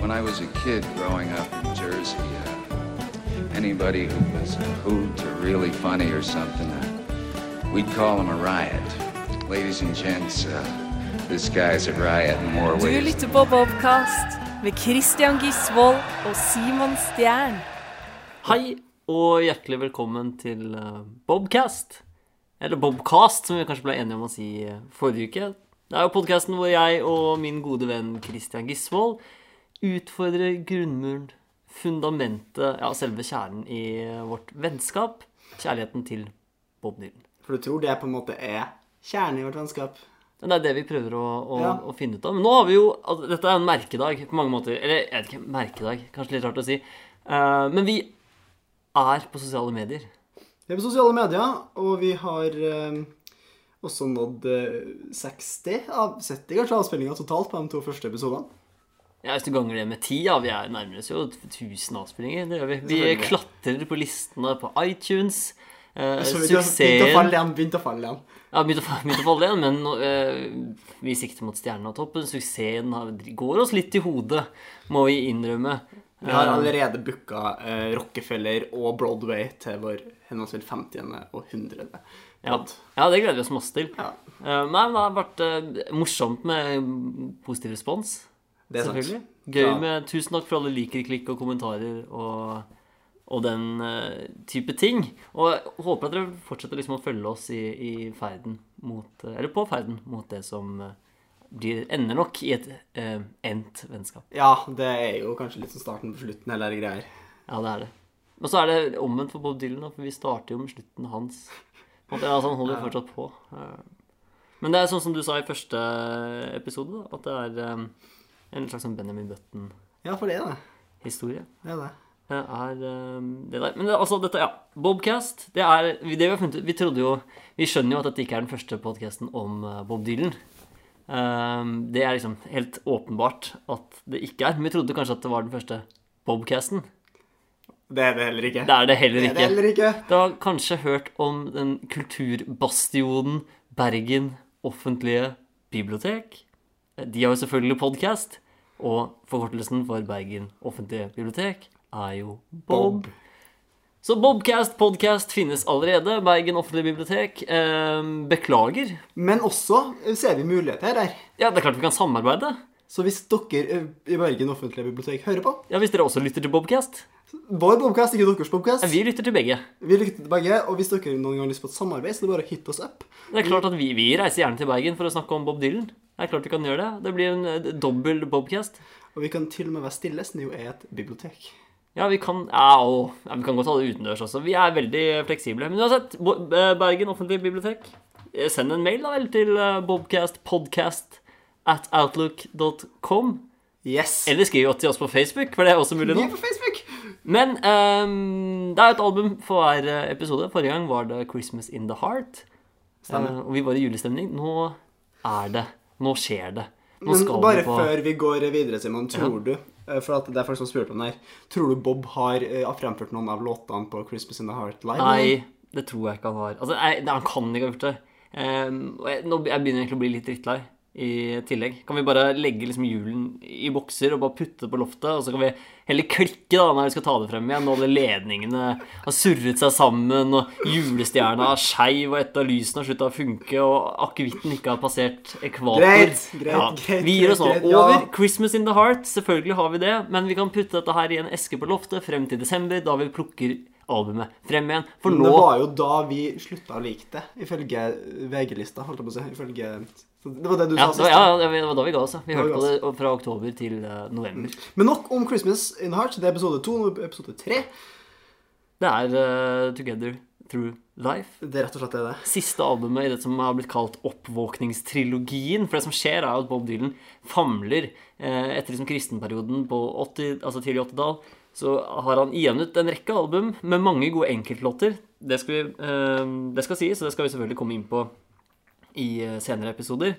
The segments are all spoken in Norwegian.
When I was a kid growing up in Jersey, uh, anybody who was a hoot or really funny or something, uh, we'd call him a riot. Ladies and gents, uh, this guy's a riot in more Du ways. lytter på Bobcast med Christian Gisvold og Simon Stjern. Hei og hjertelig velkommen til eh, Bobcast. Eller Bobcast, som vi kanskje ble enige om å si eh, forrige uke. Det er jo podkasten hvor jeg og min gode venn Christian Gisvold utfordrer grunnmuren, fundamentet, ja, selve kjernen i eh, vårt vennskap. Kjærligheten til Bob Dylan. For du tror det på en måte er kjernen i vårt vennskap. Men Det er det vi prøver å, å, Ja. å finne ut av. Men nå har vi jo altså, Dette er jo en merkedag på mange måter. Eller jeg vet ikke, merkedag. Kanskje litt rart å si. Eh, men vi er på sosiale medier. Vi er på sosiale medier, og vi har eh, også nådd eh, 60 av 70 kanskje avspillinger totalt på de to første episodene. Ja, Hvis du ganger det med ti, ja, vi er nærmer oss jo 1000 avspillinger. Det gjør vi. Vi Selvfølgelig. klatrer på listene på iTunes. Eh, Så vi begynte å suksessen falle igjen. begynte å falle igjen. Ja, begynte å fa- begynte å falle igjen, men nå, eh, vi sikter mot stjernen og toppen. Suksessen har, går oss litt i hodet, må vi innrømme. Vi har allerede booka eh, Rockefeller og Broadway til vår henholdsvis 50. og 100. Ja, ja det gleder vi oss masse til. Ja. Eh, nei, men det har vært eh, morsomt med mm, positiv respons. Det er sant. Selvfølgelig. Gøy Ja. med tusen takk for alle liker, klikk og kommentarer og, og den eh, type ting. Og jeg håper at dere fortsetter liksom å følge oss i, i ferden mot, eh, eller på ferden mot det som eh, blir, ender nok i et eh, endt vennskap. Ja, det er jo kanskje litt sånn starten på slutten, hele det greier. Ja, det er det. Og så er det omvendt for Bob Dylan, da, for vi starter jo med slutten hans. På en måte, altså, han holder jo fortsatt på. Eh, Men det er sånn som du sa i første episode, da, at det er eh, en slags sånn Benjamin Button-historie. Ja, for det er det. Det er det. Det er eh, det der. Men det, altså, dette, ja. Bobcast, det er det vi har funnet ut Vi trodde jo Vi skjønner jo at dette ikke er den første podcasten om eh, Bob Dylan. Eh, det er liksom helt åpenbart at det ikke er. Men vi trodde kanskje at det var den første Bobcasten. Det er det heller ikke. Det er det heller Det ikke. er det heller ikke. Du har kanskje hørt om den kulturbastionen Bergen offentlige bibliotek. De har jo selvfølgelig podkast, og forkortelsen for Bergen offentlige bibliotek er jo Bob. Så Bobcast podcast finnes allerede. Bergen offentlige bibliotek. Eh, beklager. Men også eh, ser vi muligheter her. Ja, det er klart vi kan samarbeide. Så hvis dere eh, i Bergen offentlige bibliotek hører på Ja, Hvis dere også lytter til Bobcast. Vår bobcast, ikke deres bobcast. Ja, vi lytter til begge. Vi lytter til begge, og hvis dere noen gang har lyst på et samarbeid, så er det bare å hit oss up. Det er klart at vi, vi reiser gjerne til Bergen for å snakke om Bob Dylan. Det er klart vi kan gjøre det. Det blir en eh, dobbel Bobcast. Og vi kan til og med være stille, siden det jo er et bibliotek. Ja, vi kan, ja, og, ja, vi kan godt ha det utendørs også. Vi er veldig fleksible. Men uansett, Bo- eh, Bergen offentlige bibliotek, eh, send en mail da vel til eh, bobcastpodcast at outlook.com. Yes! Eller skriv jo til oss på Facebook, for det er også mulig Vi nå. er på Facebook! Men ehm, det er jo et album for hver eh, episode. Forrige gang var det 'Christmas in the Heart'. Eh, og vi var i julestemning. Nå er det. Nå skjer det. Nå Men skal bare vi på før vi går videre, Simon, tror du eh, For at det er folk som spurte om det her. Tror du Bob har eh, fremført noen av låtene på Christmas in the Heart live? Nei, det tror jeg ikke han har. Altså, jeg, nei, Han kan ikke ha gjort det. Ehm, og jeg, nå, jeg begynner egentlig å bli litt drittlei i tillegg. Kan vi bare legge liksom hjulen i bokser og bare putte det på loftet? Og så kan vi heller klikke da når vi skal ta det frem igjen. Og alle ledningene har surret seg sammen, og julestjerna er skeiv, og et av lysene har slutta å funke, og akevitten ikke har passert ekvator. Greit, greit, greit, Vi gir oss nå greit, greit, ja. over. Christmas in the heart, selvfølgelig har vi det, men vi kan putte dette her i en eske på loftet frem til desember, da vi plukker albumet frem igjen. For Men Det nå var jo da vi slutta å like det, ifølge VG-lista, holdt jeg på å si. Ifølge så Det var det du ja, det sa var, sist. ja, ja, det var da vi ga oss. ja. Vi Da vi hørte på ga det fra oktober til eh, november. Men nok om Christmas in the Heart. Det er episode to, nå er det episode tre. Det er eh, Together Through Life. Det er rett og slett det det. er. Siste albumet i det som har blitt kalt oppvåkningstrilogien. For det som skjer, er jo at Bob Dylan famler eh, etter liksom kristenperioden på 80, altså tidlig 80-tall. Så har han jevnet en rekke album med mange gode enkeltlåter. Det skal, vi, eh, det skal sies, og det skal vi selvfølgelig komme inn på i eh, senere episoder.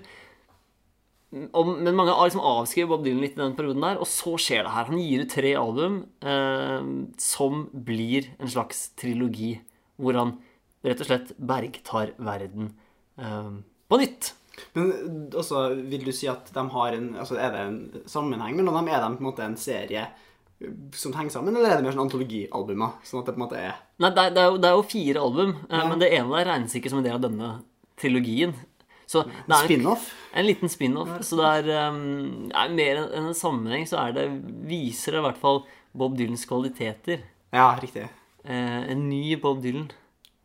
om, men mange har liksom avskrevet Bob Dylan litt i den perioden der, og så skjer det her. Han gir ut tre album eh, som blir en slags trilogi, hvor han rett og slett bergtar verden eh, på nytt. Men også, vil du si at de har en altså Er det en sammenheng mellom dem? Er de på en måte en serie eh, som henger sammen, eller er det mer sånn antologialbumer? Sånn at det på en måte er Nei, det er, det er, jo, det er jo fire album, eh, men det ene der regnes ikke som en del av denne trilogien. Så det er en, spin-off? en liten spin-off. Så det er, eh, det er mer enn en sammenheng, så er det, viser det i hvert fall Bob Dylans kvaliteter. Ja, riktig. Eh, en ny Bob Dylan.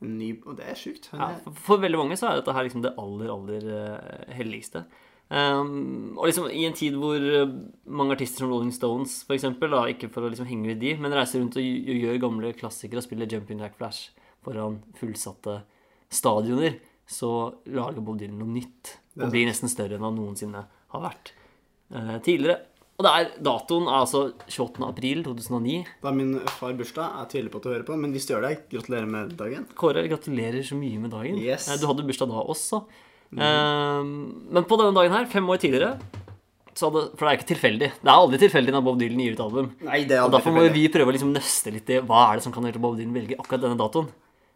En ny Og det er sjukt. Han Ja, er- for, for veldig mange så er dette her liksom det aller, aller eh, helligste. Ehm, og liksom i en tid hvor eh, mange artister som Rolling Stones for eksempel, da, ikke for å liksom henge ved de, men reiser rundt og, gj- og gjør gamle klassikere og spiller Jumping Jack Flash foran fullsatte stadioner, så lager Bob Dylan noe nytt. Og blir nesten større enn han noensinne har vært eh, tidligere. Og det er, datoen er altså 28. april 2009. Da er min far bursdag. Jeg tviler på at du hører på, men hvis du gjør det, gratulerer med dagen. Kåre, gratulerer så mye med dagen. Yes. Mhm. Eh, Du hadde bursdag da også. Eh, men på denne dagen her, fem år tidligere så hadde, For det er ikke tilfeldig. Det er aldri tilfeldig når Bob Dylan gir ut album. Nei, det Og er aldri Derfor må jo tilfeldig. vi prøve å liksom nøste litt i hva er det som kan gjøre at Bob Dylan velger akkurat denne datoen.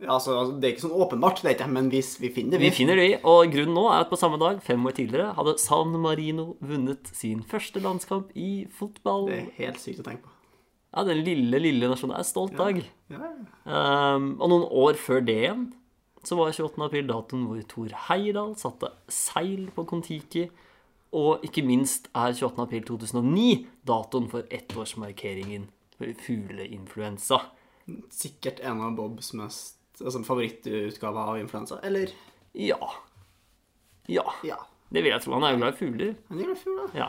Ja, altså, altså, det er ikke sånn åpenbart, det er ikke, men vi, vi finner det. Vi finner det, vi. Og grunnen nå er at på samme dag, fem år tidligere, hadde San Marino vunnet sin første landskamp i fotball. Det er helt sykt å tenke på. Ja, Den lille, lille nasjonen er en stolt dag. Ja. Um, og noen år før det igjen, så var 28. april datoen hvor Thor Heyerdahl satte seil på Kon-Tiki. Og ikke minst er 28. april 2009 datoen for ettårsmarkeringen for fugleinfluensa. Sikkert en av Bobs mest altså, favorittutgaver av influensa. Eller Ja. Ja. ja. Det vil jeg tro. Han er jo glad i fugler. Han gjør det i fjor, da. Ja.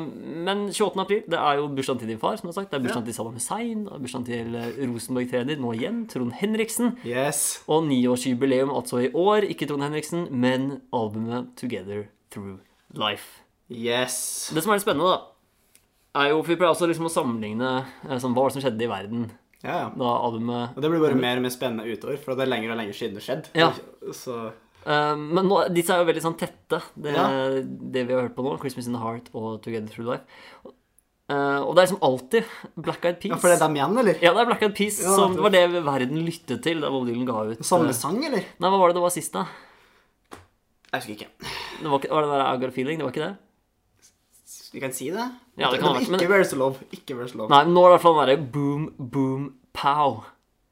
Um, men 28. april det er jo bursdagen til din far, som du har sagt. Det er bursdagen til Saddam Hussein, og bursdagen til eh, Rosenborg-trener nå igjen, Trond Henriksen. Yes. Og niårsjubileum altså i år, ikke Trond Henriksen, men albumet Together Through Life. Yes. Det som er litt spennende, da, er jo For vi pleier også liksom å sammenligne eh, sånn, hva var det som skjedde i verden Ja, ja. da albumet Og det blir bare mer og mer spennende utover, for det er lenger og lenger siden det skjedde. Ja. Så Eh, Men nå, disse er jo veldig sånn tette, det, Ja. det vi har hørt på nå. 'Christmas in the Heart' og 'Together Through Life'. Eh, og det er liksom alltid Black Eyed Peas. Ja, for det er dem igjen, eller? Ja, det er Black Eyed Peas Ja, som nettopp. var det verden lyttet til da Bob Dylan ga ut Samme eh, sang, eller? Nei, hva var det det var sist, da? Jeg husker ikke. Det var, ikke, var det der I Got a Feeling? Det var ikke det? Vi kan si det. Ja, det kan men være, men- ikke Where's the Love. Ikke Where's the Love. Nei, men nå er det i hvert fall den derre boom, boom, pow.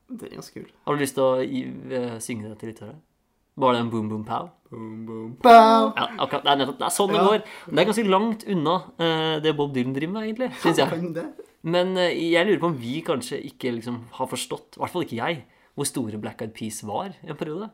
Den er ganske kul. Har du lyst til å gi- eh, synge det til lyttere? Bare den boom, boom, pow? Boom, boom, bow. Ja, akkurat, det er nettopp det er sånn det Ja. går. Men Det er ganske langt unna eh, det Bob Dylan driver med, egentlig. Synes jeg. Kan det? Men eh, jeg lurer på om vi kanskje ikke liksom har forstått, i hvert fall ikke jeg, hvor store Black Eyed Peas var i en periode.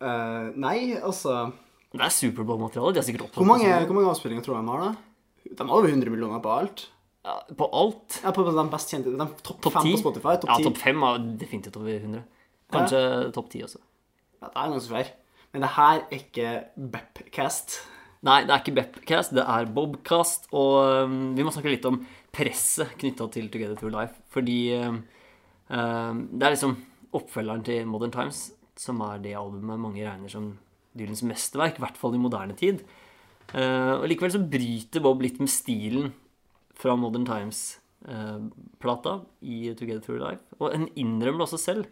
Eh, nei, altså Det er Superbowl-materiale. De har sikkert opptatt Hvor mange, hvor mange avspillinger tror jeg de har, da? De har over 100 millioner på alt. ja, på alt. Ja, på de best kjente De topp Topp fem ti. på Spotify. Topp ja, ti. topp fem er definitivt over 100. Kanskje topp ti også. Ja, det er ganske svær. Men det her er ikke Bepcast. Nei, det er ikke Bepcast, det er Bobcast. Og øhm, vi må snakke litt om presset knytta til Together Through Life. Fordi øhm, øhm, det er liksom oppfølgeren til Modern Times som er det albumet mange regner som Dylans mesterverk, i hvert fall i moderne tid. Eh, og likevel så bryter Bob litt med stilen fra Modern Times-plata i Together Through Life. Og han innrømmer det også selv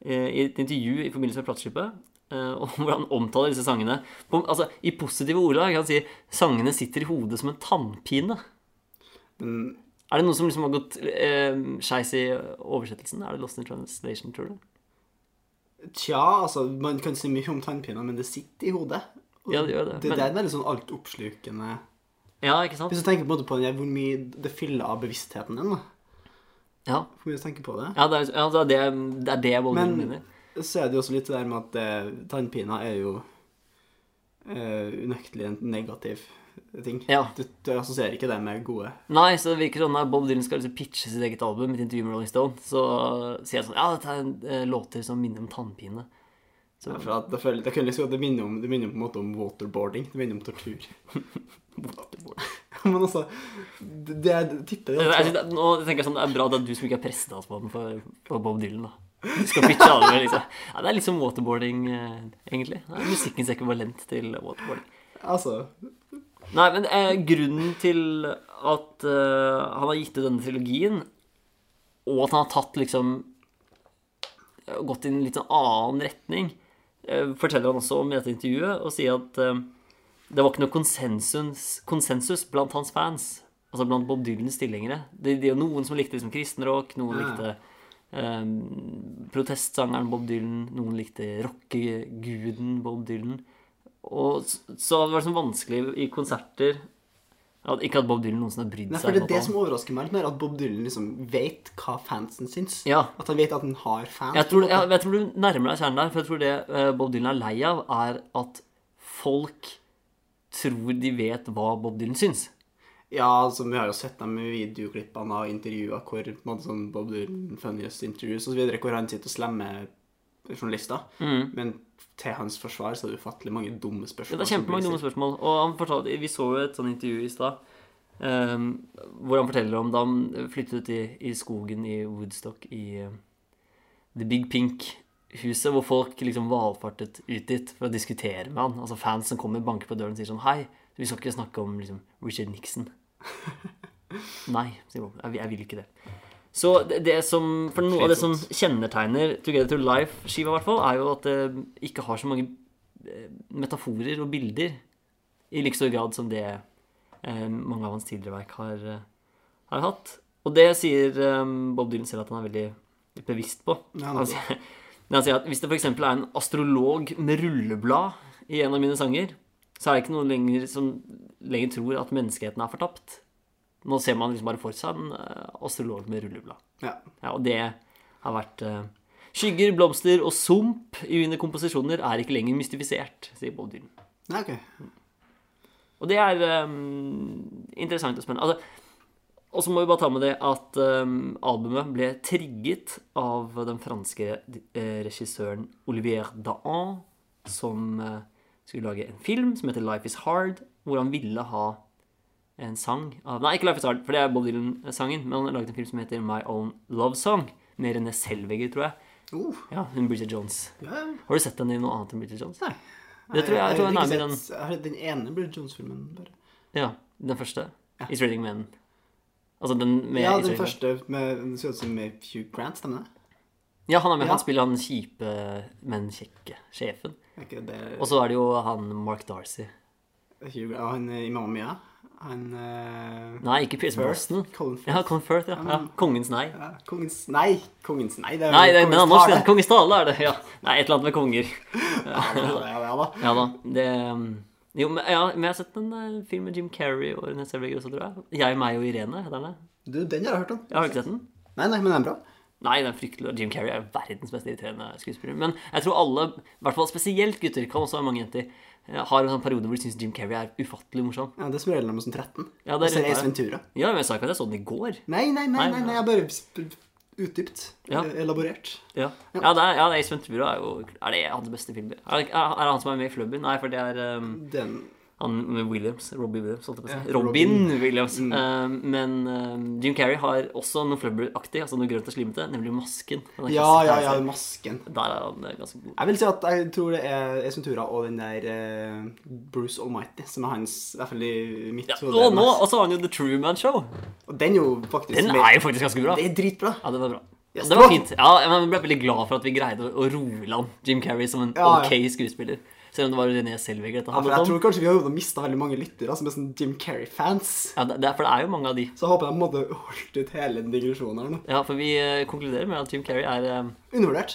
eh, i et intervju i forbindelse med plateskipet. eh, og hvor han omtaler disse sangene på, altså, i positive ordlag. Han sier sangene sitter i hodet som en tannpine. er det noe som liksom har gått eh, skeis i oversettelsen? Er det Lost in Translation, tror du? Tja, altså, man kan si mye om tannpiner, men det sitter i hodet. Og Ja, det gjør det, Det, men- er en veldig sånn altoppslukende Ja, ikke sant? Hvis du tenker på, en måte på den, hvor mye det fyller av bevisstheten din, da. Ja, Hvor mye du tenker på det. ja, det, er, ja det, er det, det er det Bob Dylan Men- mener. Så er det jo også litt det der med at eh, tannpiner er jo eh, unektelig en negativ ting. Ja. Du, du assosierer ikke det med gode Nei, så det virker sånn at Bob Dylan skal liksom pitche sitt eget album i et intervju med Rolling Stone. Så sier jeg sånn Ja, dette er en, eh, låter som minner om tannpine. Ja, for at det, føler, det, kunne liksom, det, minner om, det minner på en måte om waterboarding. Det minner om tortur. Men altså Det, det er tipper det. Jeg, Altså. synes det- nå tenker jeg sånn, Det er bra at det er du som ikke er prestedans på den for, for Bob Dylan. da Du skal pitche albumet, liksom. Ja, Det er litt som waterboarding, eh, egentlig. Det er musikkens ekvivalent til waterboarding. altså Nei, men eh, grunnen til at eh, han har gitt ut denne trilogien, og at han har tatt liksom eh, Gått i en litt sånn annen retning, eh, forteller han også om i dette intervjuet, og sier at eh, det var ikke noe konsensus, konsensus blant hans fans. Altså blant Bob Dylans tilhengere. Det, det er jo noen som likte liksom kristenrock, noen Ja. likte eh, protestsangeren Bob Dylan, noen likte rockeguden Bob Dylan. Og s- så det var liksom vanskelig i konserter at, Ikke at Bob Dylan noensinne har brydd Nei, seg. for det om er at det han- som overrasker meg litt mer, at Bob Dylan liksom vet hva fansen syns. Ja. At han vet at han har fans. Jeg tror, på en jeg, måte. jeg tror du nærmer deg kjernen der, for jeg tror det eh, Bob Dylan er lei av, er at folk tror de vet hva Bob Dylan syns. ja, altså, vi har jo sett dem i videoklippene og intervjuer hvor på en måte, sånn Bob Dylan funniest interviews og så videre, hvor han sitter og slemmer journalister. Men til hans forsvar så er det ufattelig mange dumme Mm. Ja, spørsmål. altså, det er som blir kjempemange dumme stilt. spørsmål. Og han fortalte, Vi så jo et sånt intervju i stad ehm, hvor han forteller om da han flyttet ut i, i skogen i Woodstock, i eh, The Big Pink-huset, hvor folk liksom valfartet ut dit for å diskutere med han. Altså Fans som kommer og banker på døren og sier sånn Hei, vi skal ikke snakke om liksom, Richard Nixon. Nei, sier Bob. Jeg, vil- jeg vil ikke det. Så det, det som, for noe av det som kjennetegner Together to Life-skiva, i hvert fall, er jo at det ikke har så mange eh, metaforer og bilder i like stor grad som det eh, mange av hans tidligere verk har, eh, har hatt. Og det sier eh, Bob Dylan selv at han er veldig bevisst på. Ja, han, sier, men han sier at hvis det f.eks. er en astrolog med rulleblad i en av mine sanger, så er det ikke noen lenger som lenger tror at menneskeheten er fortapt. Nå ser man liksom bare for seg en eh, astrolog med rulleblad. Ja. Ja, og det har vært eh, Skygger, blomster og sump i mine komposisjoner er ikke lenger mystifisert, sier Bob Dylan. Nei, ok. Og det er eh, interessant og spennende. Altså, og så må vi bare ta med det at eh, albumet ble trigget av den franske eh, regissøren Olivier Dahan, som eh, skulle lage en film som heter Life Is Hard, hvor han ville ha en sang av Nei, ikke Life Is Hard, for det er Bob Dylan-sangen, men han laget en film som heter My Own Love Song, med René Selveger, tror jeg. Uh, Ja, hun Bridget Jones. ja. ja. Har du sett den i noe annet enn Bridget Jones? Nei. Det tror jeg, jeg tror den er med i den, Jeg har sett den ene Bridget Jones-filmen, bare. ja, den første. Is Reading Men. Altså den med Ja, Is Reading den Men. første med, den ser ut som med Hugh Grant, stemmer det? Ja, han er med. Ja. Han spiller han kjipe, men kjekke sjefen. Er ikke det Og så er det jo han Mark Darcy. Hugh Grant, og han eh, i Mamma Mia? Han eh, Nei, ikke Pierce Brosnan. Colin Firth. Ja, Colin Firth, ja. ja. Kongens nei. Ja, Kongens Nei, Kongens Nei. Det er Nei, det, men han norsk, tale. Kongens tale er det. Ja. Nei, et eller annet med konger. Ja, ja, ja, da. Ja da. Det um, Jo, men, ja, men jeg har sett en eh, film med Jim Carrey og René Selvig også, tror jeg. Jeg, meg og Irene heter den. det. Du, den har jeg hørt om. Jeg har ikke sett den. Nei, nei, men den er bra. Nei, den er fryktelig. og Jim Carrey er verdens mest irriterende skuespiller. Men jeg tror alle, i hvert fall spesielt gutter, kan også være mange jenter, eh, har en sånn periode hvor de syns Jim Carrey er ufattelig morsom. Ja, det er som regel når man er sånn 13. Ja, Og det er ser rett Ace der. Ventura. Ja, men jeg sa ikke at jeg så den i går. Nei, nei, nei, Nei, nei, ja. nei jeg bare sp- utdypt. Ja. eh, Elaborert. Ja, ja, det er, ja det er Ace Ventura er jo Er det hans beste film? Er det, ikke- er det han som er med i Flubben? Nei, for det er um, Den han med Williams. Robbie Williams. Holdt jeg på å si. Ja, Robin, Robin. Mm. Williams. Um, men um, Jim Carrey har også noe Flubber-aktig, altså noe grønt og slimete, nemlig Masken. Den er Ja, klassisk ja, ja, tegneserie. masken. Der er han eh, ganske god. Jeg vil si at jeg tror det er Ace Ventura og den der eh, Bruce Almighty, som er hans, i hvert fall i mitt Ja, hode. og nå og så har han jo The Truman Show. Og den er jo faktisk Den mer- er jo faktisk ganske bra. Det er dritbra. Ja, det var bra. Yes, det det var- var fint. Ja, men jeg ble veldig glad for at vi greide å- å roe land Jim Carrey som en Ja, ja. ok skuespiller. Selv om det var René Selvig dette Ja, for handlet jeg om. tror kanskje vi har mista veldig mange lyttere som er sånn Jim Carrey-fans. Ja, det, det er, for det er jo mange av de. Så jeg håper de på en måte holdt ut hele den digresjonen her nå. Ja, for vi eh, konkluderer med at Jim Carrey er eh, Undervurdert.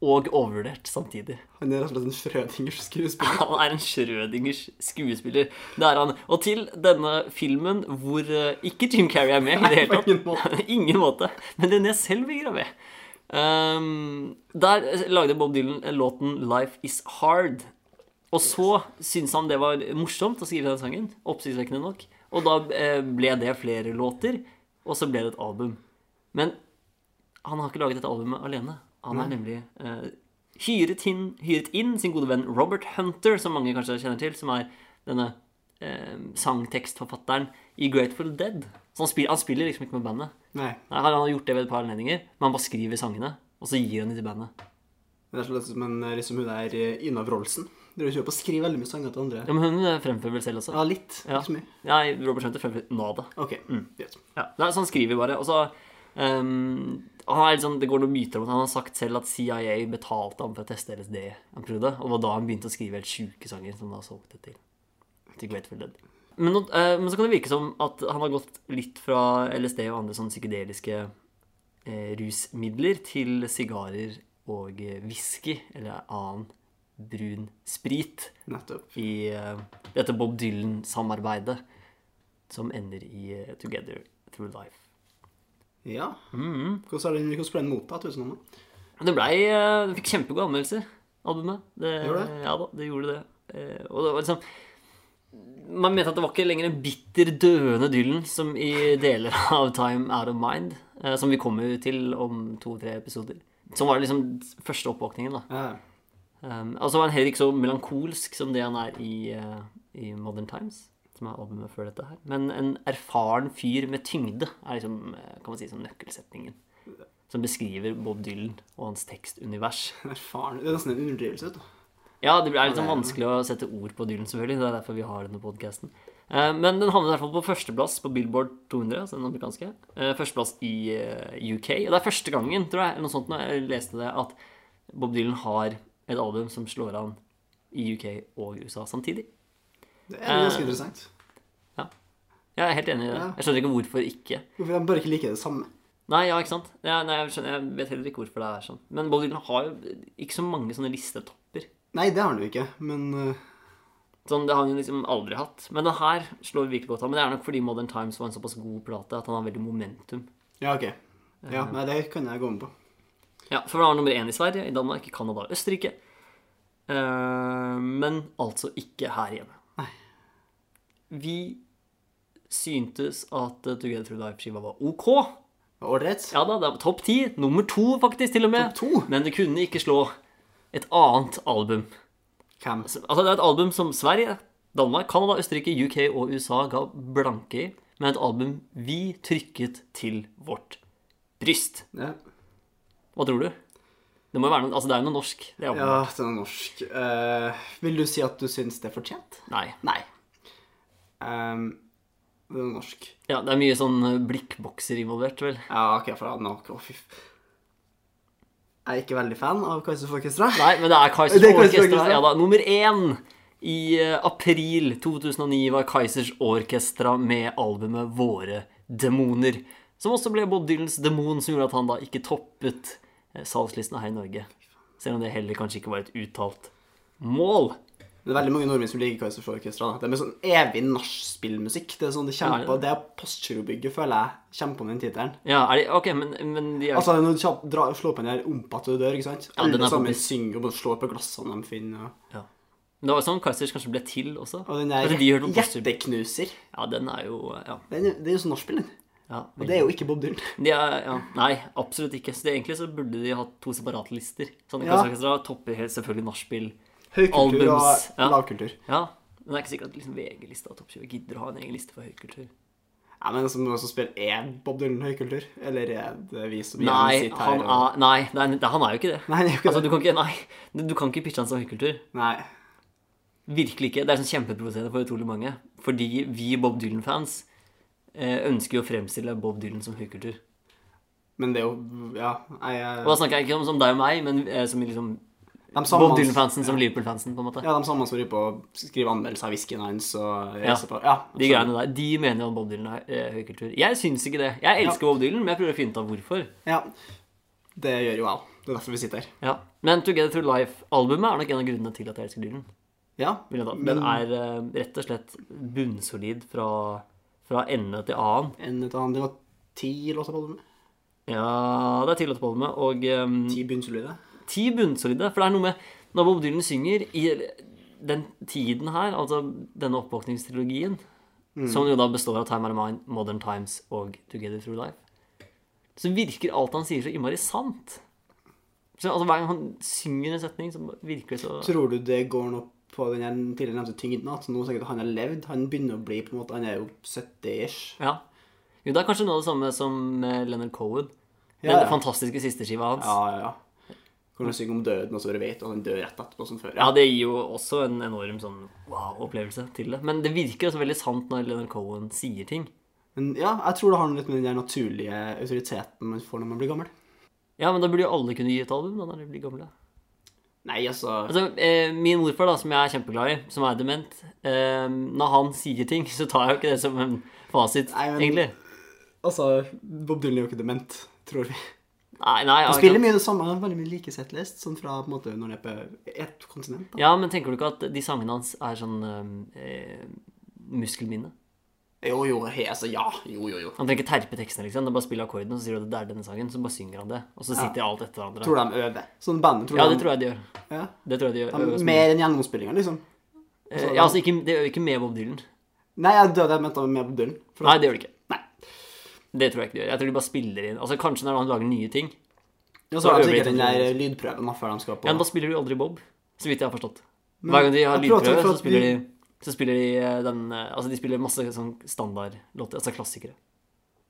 og overvurdert samtidig. Han er rett og slett en Frødingers skuespiller. Han er en Schrødingers skuespiller. Det er han. Og til denne filmen hvor eh, ikke Jim Carrey er med i det hele På tatt. ingen måte. ingen måte. Men René Selvinger er med. Ehm, der lagde Bob Dylan låten 'Life Is Hard'. Og så syntes han det var morsomt å skrive den sangen. Oppsiktsvekkende nok. Og da eh, ble det flere låter, og så ble det et album. Men han har ikke laget dette albumet alene. Han er nemlig eh, hyret, inn, hyret inn sin gode venn Robert Hunter, som mange kanskje kjenner til, som er denne eh, sangtekstforfatteren i Grateful Dead. Så han spiller, han spiller liksom ikke med bandet. Nei. Nei, han har gjort det ved et par anledninger, men han bare skriver sangene, og så gir han dem til bandet. Det er rett og slett som en, liksom hun der eh, Ina Wroldsen. Dere kjører på å skrive veldig mye sanger til andre. Ja, men hun eh, fremfører vel selv også. Ja, litt. Ja. Ikke så mye. Nei, Robert Hunter fremfører Nada. OK. greit. Ja. Nei, så han skriver bare, og så ehm, han er litt sånn, Det går noen myter om at han har sagt selv at CIA betalte ham for å teste LSD han prøvde, og det var da han begynte å skrive helt sjuke sanger som han har solgt det til. til Grateful Dead. Men, nå- eh, men så kan det virke som at han har gått litt fra LSD og andre sånn psykedeliske eh, rusmidler til sigarer og eh, whisky eller annen brun sprit Nettopp. i eh, dette Bob Dylan-samarbeidet som ender i eh, Together Through Life. Ja. Mm. Hvordan, har den, hvordan ble den mottatt? Tusen Anna? Det blei eh, Det fikk kjempegode anmeldelser, albumet. Det, Gjorde det? Ja da, det gjorde det. Eh, Og det var liksom Man mente at det var ikke lenger en bitter, døende Dylan som i deler av Time Out of Mind, eh, som vi kommer til om to-tre episoder. Som var liksom første oppvåkningen, da. Ja. Um, altså var han heller ikke så melankolsk som det han er i, eh, i Modern Times, som er albumet før dette her. Men en erfaren fyr med tyngde er liksom, eh, kan man si, som nøkkelsetningen. Som beskriver Bob Dylan og hans tekstunivers. Erfaren. Det er nesten en underdrivelse. vet du. Ja, det er litt sånn vanskelig å sette ord på Dylan, selvfølgelig. Det er derfor vi har denne podkasten. Men den havnet i hvert fall på førsteplass på Billboard 200, altså den amerikanske. Eh, Førsteplass i eh, UK. Og det er første gangen, tror jeg, eller noe sånt når jeg leste det, at Bob Dylan har et album som slår an i UK og USA samtidig. Det Eh. er ganske interessant. Jeg er helt enig i det. Ja. Jeg skjønner ikke hvorfor ikke. Hvorfor de bare ikke liker det samme? Nei, ja, ikke sant? Ja, nei, jeg, skjønner, jeg vet heller ikke hvorfor det er sånn. Men Bob Dylan har jo ikke så mange sånne listetopper. Nei, det har han jo ikke, men eh, Sånn, Det har han jo liksom aldri hatt. Men den her slår virkelig godt an. Men det er nok fordi Modern Times var en såpass god plate at han har veldig momentum. Ja, OK. Ja, Eh. nei, det kan jeg gå med på. Ja, For den var nummer én i Sverige, i Danmark, i Canada og Østerrike. Eh, men altså ikke her hjemme. Vi syntes at eh, Together Through Life-skiva var ok. Ålreit. Ja da, det var topp ti. Nummer to, faktisk, til og med. Topp to? Men det kunne ikke slå et annet album. Hvem? Altså, det er et album som Sverige, Danmark, Canada, Østerrike, UK og USA ga blanke i, men et album vi trykket til vårt bryst. Ja. Hva tror du? Det må jo være noe, altså det er jo noe norsk. Det er jo, Ja, den er norsk. Eh, vil du si at du syns det er fortjent? Nei. Nei. den er norsk. Ja, det er mye sånn eh, blikkbokser involvert, vel. Ja, OK, for han har fy f... Jeg er ikke veldig fan av Kaizers Orkestra. Nei, men det er Kaizers Det er Kaizers Orkestra. Orkestra. Ja da, nummer én i eh, april 2009 var Kaizers Orkestra med albumet Våre demoner, som også ble Bob Dylans demon, som gjorde at han da ikke toppet eh, salgslistene her i Norge. Selv om det heller kanskje ikke var et uttalt mål. Det er veldig mange nordmenn som liker Kaizers Orkestra. da. Det er med sånn evig nachspielmusikk. Det er sånn de Ja, kjemper ja. Det er Postgirobygget, føler jeg, kjemper om den tittelen. Ja, er de, ok, men, men de er Altså, når du kjapt drar, slår på den der ompa til du dør, ikke sant? den er Alle på sammen buss. synger og bare slår på glassene de finner. Og, ja. Men Det var jo sånn Kaizers kanskje ble til også. og den Kanskje der de hørte på Postgiro- hjerteknuser. Ja, den er jo Ja. Den, er- det er jo sånn nachspiel, den. ja Og det er jo ikke Bob Dylan. De er, ja, nei, absolutt ikke. Så det, egentlig så burde de hatt to separate lister. Sånn, Ja. Orkestra topper helt selvfølgelig nachspiel. Høykultur Albums, og ja. lavkultur. Ja, men det er ikke sikkert at liksom VG-lista av topp 20 gidder å ha en egen liste for høykultur. Ja, men som, som spiller er Bob Dylan høykultur? Eller er det vi som Nei, sitter her han og- er, nei, det er, det, han er jo ikke det. Nei, det er jo ikke altså, det. du kan ikke, nei, du- du kan ikke pitche han som høykultur. Nei. Virkelig ikke. Det er sånn kjempeprovoserende for utrolig mange. Fordi vi Bob Dylan-fans eh, ønsker jo å fremstille Bob Dylan som høykultur. Men det er jo Ja, jeg Og da snakker jeg ikke om som deg og meg, men eh, som i liksom de samme Bob han- Dylan-fansen som Liverpool-fansen, på en måte. Ja, de samme som driver på å skrive anmeldelser av whiskyen hans og Ja. reiser på Ja. De greiene der, de mener at Bob Dylan er eh, høykultur. Jeg syns ikke det. Jeg elsker Bob Dylan, men jeg prøver å finne ut av hvorfor. ja. Det gjør jo jeg òg. Det er derfor vi sitter her. Ja. Men Together Through Life-albumet er nok en av grunnene til at jeg elsker Dylan. Ja. vil jeg da. men- Den er eh, rett og slett bunnsolid fra, fra ende til annen. En et annet, det var ti låter på albumet. Ja, det er tillatt på albumet. Og ehm, Ti bunnsolide. ti bunnsolide. For det er noe med Når Bob Dylan synger i den tiden her, altså denne oppvåkningstrilogien, Mm. som jo da består av Time Out of Mind, Modern Times og Together Through Life, så virker alt han sier, så innmari sant. Så, altså, hver gang han synger en setning, så virker det så Tror du det går noe på den her tidligere nevnte tyngden? At nå sikkert han har levd? Han begynner å bli på en måte Han er jo 70-ish. Ja. Jo, det er kanskje noe av det samme som eh, Leonard Cohen. Den Ja, ja. fantastiske sisteskiva hans. Ja, ja, ja. Kan du synge om døden, og så bare vet at han dør rett etterpå som før? Ja, det gir jo også en enorm sånn wow-opplevelse til det. Men det virker også veldig sant når Leonard Cohen sier ting. Men ja, jeg tror det har noe litt med den der naturlige autoriteten man får når man blir gammel. Ja, men da burde jo alle kunne gi et album da når de blir gamle. Nei, altså Altså, eh, min morfar, da, som jeg er kjempeglad i, som er dement eh, Når han sier ting, så tar jeg jo ikke det som en fasit, Nei, men- egentlig. Altså, Bob Dylan er jo ikke dement, tror vi. Nei, nei, Han akkurat. spiller mye det samme, han har veldig mye like settlist, sånn fra på en måte når han er på ett kontinent. da. Ja, men tenker du ikke at de sangene hans er sånn eh, muskelminne? Jo, jo, he, altså, ja. Jo, jo, jo. Han trenger ikke terpe tekstene, liksom. Det er bare å spille akkorden, og så sier du at det er denne sangen, så bare synger han det. Og så sitter alt etter hverandre. Tror de øver. Sånn bandet, tror Ja, de det tror jeg de gjør. Ja. Det tror jeg de gjør. De, øver oss med. mer enn gjennomspillinga, liksom. Eh, ja, altså, ikke, det gjør ikke med Bob Dylan. Nei, jeg døde jeg mente med Bob Dylan. For Nei, det gjør det ikke. Nei. Det tror jeg ikke de gjør. Jeg tror de bare spiller inn. Altså, Kanskje når han lager nye ting. Ja, Så så har de øver de sikkert den til- der lydprøven da, før de skal på Ja, men da spiller de jo aldri Bob, så vidt jeg har forstått. Hver gang de har jeg tror at det er lydprøve, for så at spiller de de- så spiller de eh, den eh, Altså, de spiller masse sånn standardlåter, altså klassikere.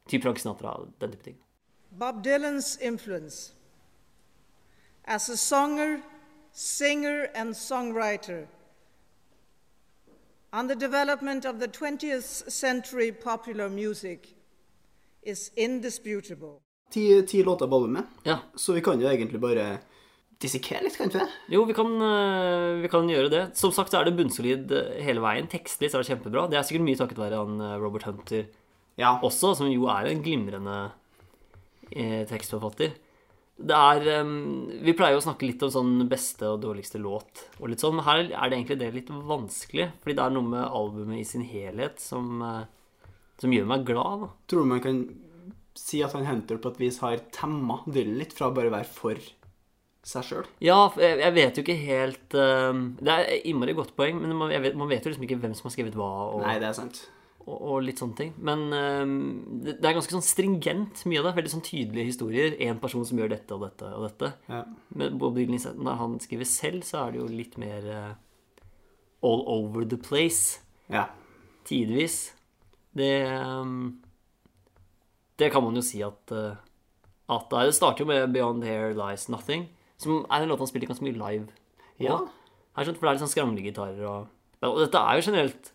Typ Frank Sinatra og den type ting. Bob Dylan's influence. As a songer, singer, and songwriter, on the development of the 20th century popular music is indisputable. ti, ti låter på albumet. Ja. Så vi kan jo egentlig bare dissekere litt, kan vi ikke det? Jo, vi kan, eh, vi kan gjøre det. Som sagt så er det bunnsolid eh, hele veien. Tekstlig så er det kjempebra. Det er sikkert mye takket være han eh, Robert Hunter Ja. også, som jo er en glimrende eh, tekstforfatter. Det er eh, Vi pleier jo å snakke litt om sånn beste og dårligste låt og litt sånn, men her er det egentlig det litt vanskelig, fordi det er noe med albumet i sin helhet som, eh, som gjør meg glad. Da. Tror du man kan si at han Hunter på et vis har temma Dylan litt fra bare å være for seg sjøl? Ja, for jeg, jeg vet jo ikke helt eh, Det er et innmari godt poeng, men man, jeg vet, man vet jo liksom ikke hvem som har skrevet hva. Og, Nei, det er sant. og, og litt sånne ting. Men eh, det det er ganske sånn stringent mye av det. Veldig sånn tydelige historier. Én person som gjør dette og dette og dette. Ja. Men Bob Dylan, i- når han skriver selv, så er det jo litt mer eh, all over the place. ja. Tidvis. Det eh, Det kan man jo si at eh, at det er. Det starter jo med 'Beyond Here Lies Nothing', som er en låt han spiller ganske mye live. Ja. også. Her, skjønt, for det er litt sånn skranglegitarer og Ja, Og dette er jo generelt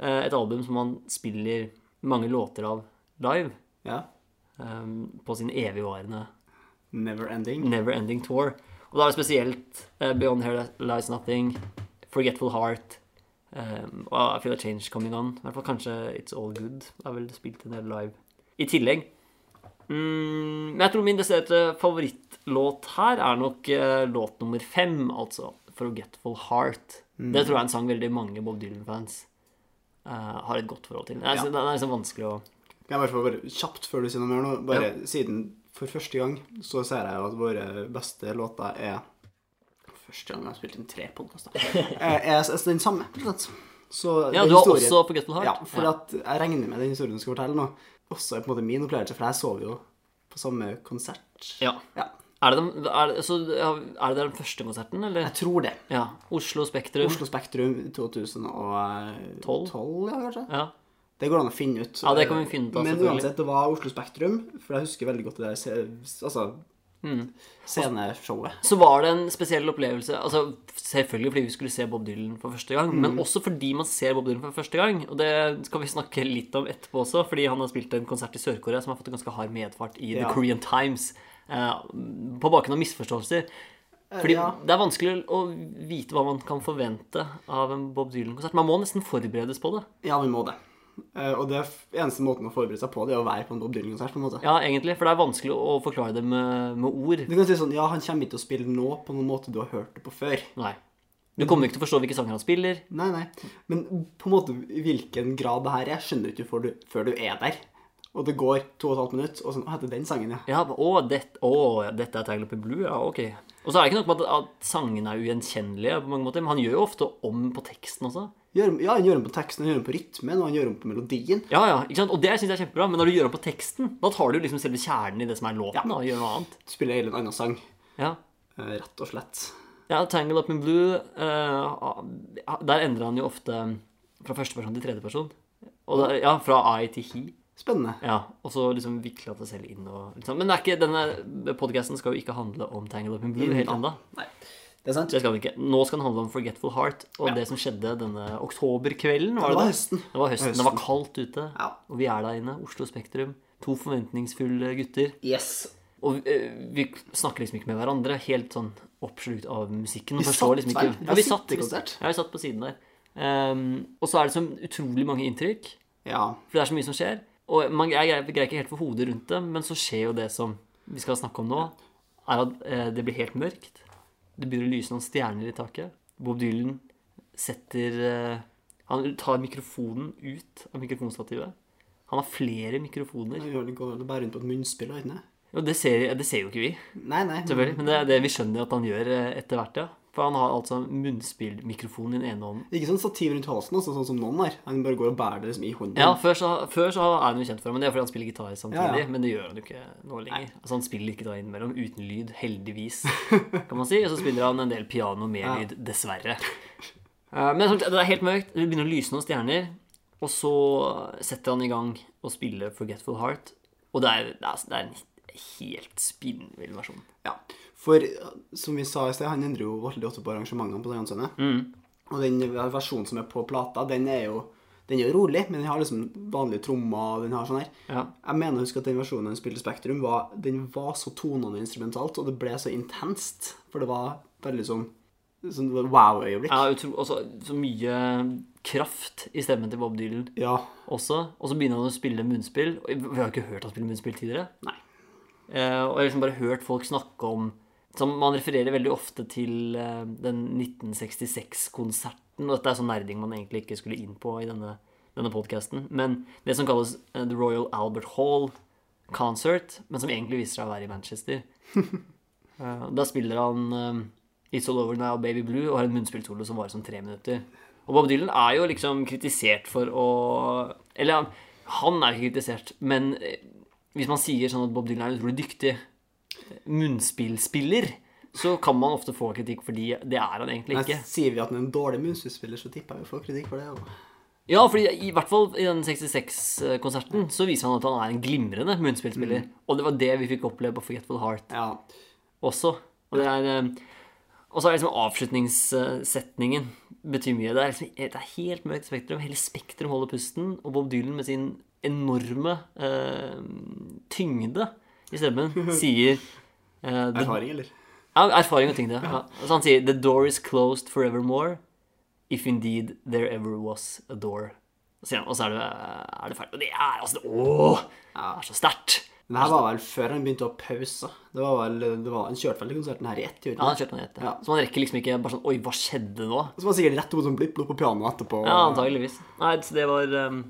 eh, et album som man spiller mange låter av live. ja. eh, på sin evigvarende Never ending. Never Ending Tour. Og da er det spesielt eh, Beyond Here Lies Nothing, Forgetful Heart um, og I Feel A Change Coming On. I hvert fall kanskje It's All Good. Det er vel spilt en del live i tillegeg. Mm, men jeg tror min desiderte favorittlåt her er nok eh, låt nummer fem, altså. Forgetful Heart. Mm. Det tror jeg er en sang veldig mange Bob Dylan-fans eh, har et godt forhold til. Jeg synes Den er liksom vanskelig å Kan jeg i hvert fall bare kjapt før du sier noe mer nå, bare siden for første gang så ser jeg jo at våre beste låter er Første gang jeg har spilt inn tre podkaster. er er den samme, rett og slett. Så Ja, den du har historien- også Forgetful Heart? Ja, for at jeg regner med den historien du skal fortelle nå, også er på en måte min opplevelse, for jeg sov jo på samme konsert. Ja. Er det, den, er, det, så, ja, er det den første konserten, eller? Jeg tror det. Ja. Oslo Spektrum. Oslo Spektrum 2012, ja, kanskje? Ja. Det går an å finne ut. Ja, det kan vi finne ut av, Men selvfølgelig. uansett, det var Oslo Spektrum, for jeg husker veldig godt det der se, altså, Mm. sceneshowet. Så var det en spesiell opplevelse. altså Selvfølgelig fordi vi skulle se Bob Dylan for første gang, Mm. men også fordi man ser Bob Dylan for første gang. Og det skal vi snakke litt om etterpå også, fordi han har spilt en konsert i Sør-Korea som har fått en ganske hard medfart i The Ja. Korean Times. Eh, på bakgrunn av misforståelser. Fordi Eh, ja. det er vanskelig å vite hva man kan forvente av en Bob Dylan-konsert. Man må nesten forberedes på det. Ja, vi må det. Eh, Og det er f- eneste måten å forberede seg på, det er å være på en Bob Dylan-konsert, på en måte. Ja, egentlig, for det er vanskelig å forklare det med, med ord. Du kan si sånn, ja, han kommer ikke til å spille nå på noen måte du har hørt det på før. Nei. Du kommer ikke til å forstå hvilke sanger han spiller. Nei, nei. Men på en måte i hvilken grad det her er, skjønner du ikke før du, før du er der. Og det går to og et halvt minutt, og sånn, å, det er den sangen, ja. Ja, å, dette, å, dette er Tangle Up in Blue, ja, ok. Og så er det ikke nok med at, at sangene er ugjenkjennelige på mange måter, men han gjør jo ofte om på teksten også. Gjør, ja, han gjør om på teksten, han gjør om på rytmen, og han gjør om på melodien. Ja, ja, ikke sant? Og det synes jeg er kjempebra, men når du gjør om på teksten, da tar du jo liksom selve kjernen i det som er låten, da, og gjør noe annet. Spiller hele en annen sang, Ja. eh, rett og slett. Ja, Tangle Up in Blue, eh, der endrer han jo ofte um, fra første person til tredje person. Og da, ja, fra I til He. Spennende. Ja, og så liksom vikla det selv inn og liksom. Men det er ikke, denne podcasten skal jo ikke handle om Tangle Up in Blue, helt annet. Det er sant. Det skal den ikke. Nå skal den handle om Forgetful Heart og det som skjedde denne oktoberkvelden. Var det, det var det? høsten. Det var høsten. Det var kaldt ute, Ja. og vi er der inne. Oslo Spektrum. To forventningsfulle gutter. Yes. Og eh, vi snakker liksom ikke med hverandre. Helt sånn oppslukt av musikken. Vi og forstår satt liksom vel? ikke. Vi Ja, vi satt satt, i konsert. ja, vi satt på siden der. Ehm, og så er det så utrolig mange inntrykk, Ja. for det er så mye som skjer. Og man jeg greier jeg greier ikke helt for hodet rundt det, men så skjer jo det som vi skal snakke om nå, er at eh, det blir helt mørkt. Det begynner å lyse noen stjerner i taket. Bob Dylan setter eh, Han tar mikrofonen ut av mikrofonstativet. Han har flere mikrofoner. Vi går vel bare rundt på et munnspill, og ikke det? Og det ser, det ser jo ikke vi. Nei, nei. Selvfølgelig, Men det er det vi skjønner at han gjør eh, etter hvert, ja. For han har altså munnspillmikrofon i den ene hånden. Ikke sånn stativ rundt halsen, altså, sånn som noen har. Han bare går og bærer det liksom i hånden. Ja, før så, før så er han jo kjent for det, men det er fordi han spiller gitar samtidig. Ja, ja. Men det gjør han jo ikke nå lenger. Altså Han spiller gitar innimellom uten lyd, heldigvis, kan man si. Og så spiller han en del piano med lyd, dessverre. Eh, Men sånn, det er helt mørkt, det begynner å lyse noen stjerner, og så setter han i gang å spille Forgetful Heart, og det er, det er, det er en helt spinnvill versjon. Ja, for eh, som vi sa i sted, han endrer jo veldig ofte på arrangementene på sangene sine. Mm. Og den versjonen som er på plata, den er jo den er jo rolig, men den har liksom vanlige trommer. og den har sånn her. Ja. Jeg mener å huske at den versjonen han spilte i Spektrum, var, den var så tonende instrumentalt, og det ble så intenst. For det var veldig sånn, sånn det var wow-øyeblikk. Ja, utro, også, så mye kraft i stemmen til Bob Dylan Ja. også. Og så begynner han å spille munnspill. Og Vi har jo ikke hørt han spille munnspill tidligere. Nei. Eh, og jeg har liksom bare hørt folk snakke om som Man refererer veldig ofte til eh, den 1966-konserten. Og dette er sånn nerding man egentlig ikke skulle inn på i denne, denne podkasten. Men det som kalles eh, The Royal Albert Hall Concert, men som egentlig viser seg å være i Manchester. Eh, Da spiller han eh, It's All Over Now, Baby Blue, og har en munnspillsolo som varer som tre minutter. Og Bob Dylan er jo liksom kritisert for å Eller han- han er jo ikke kritisert, men eh, hvis man sier sånn at Bob Dylan er en utrolig dyktig eh, munnspillspiller, så kan man ofte få kritikk fordi det er han egentlig Men ikke. sier vi at han er en dårlig munnspillspiller, så tipper jeg vi får kritikk for det. Og... Ja, fordi i hvert fall i den 66-konserten så viser han at han er en glimrende munnspillspiller. Og det var det vi fikk oppleve på Forgetful Heart. Ja. også. Og det er eh, og så er liksom avslutningssetningen betyr mye. Det er, liksom, det er helt mørkt spektrum. Hele Spektrum holder pusten. Og Bob Dylan med sin enorme eh, tyngde i stemmen sier eh, the, Erfaring, eller? ja, erfaring og tyngde. Ja. Så han sier The door is closed forevermore If indeed there ever was a door. Og så, sier han, og så er, det, er det ferdig. Og det er altså Åh! Det er så sterkt. Men det her var vel før han begynte å ha pauser. Det var vel, det var, han kjørte vel til konserten her i ett, gjorde Ja, han han ikke? kjørte han etter. Ja. Så man rekker liksom ikke bare sånn Oi, hva skjedde nå? Så var han sikkert rett på sånn blipp-blopp på pianoet etterpå. Ja, antageligvis. Nei, så det var um,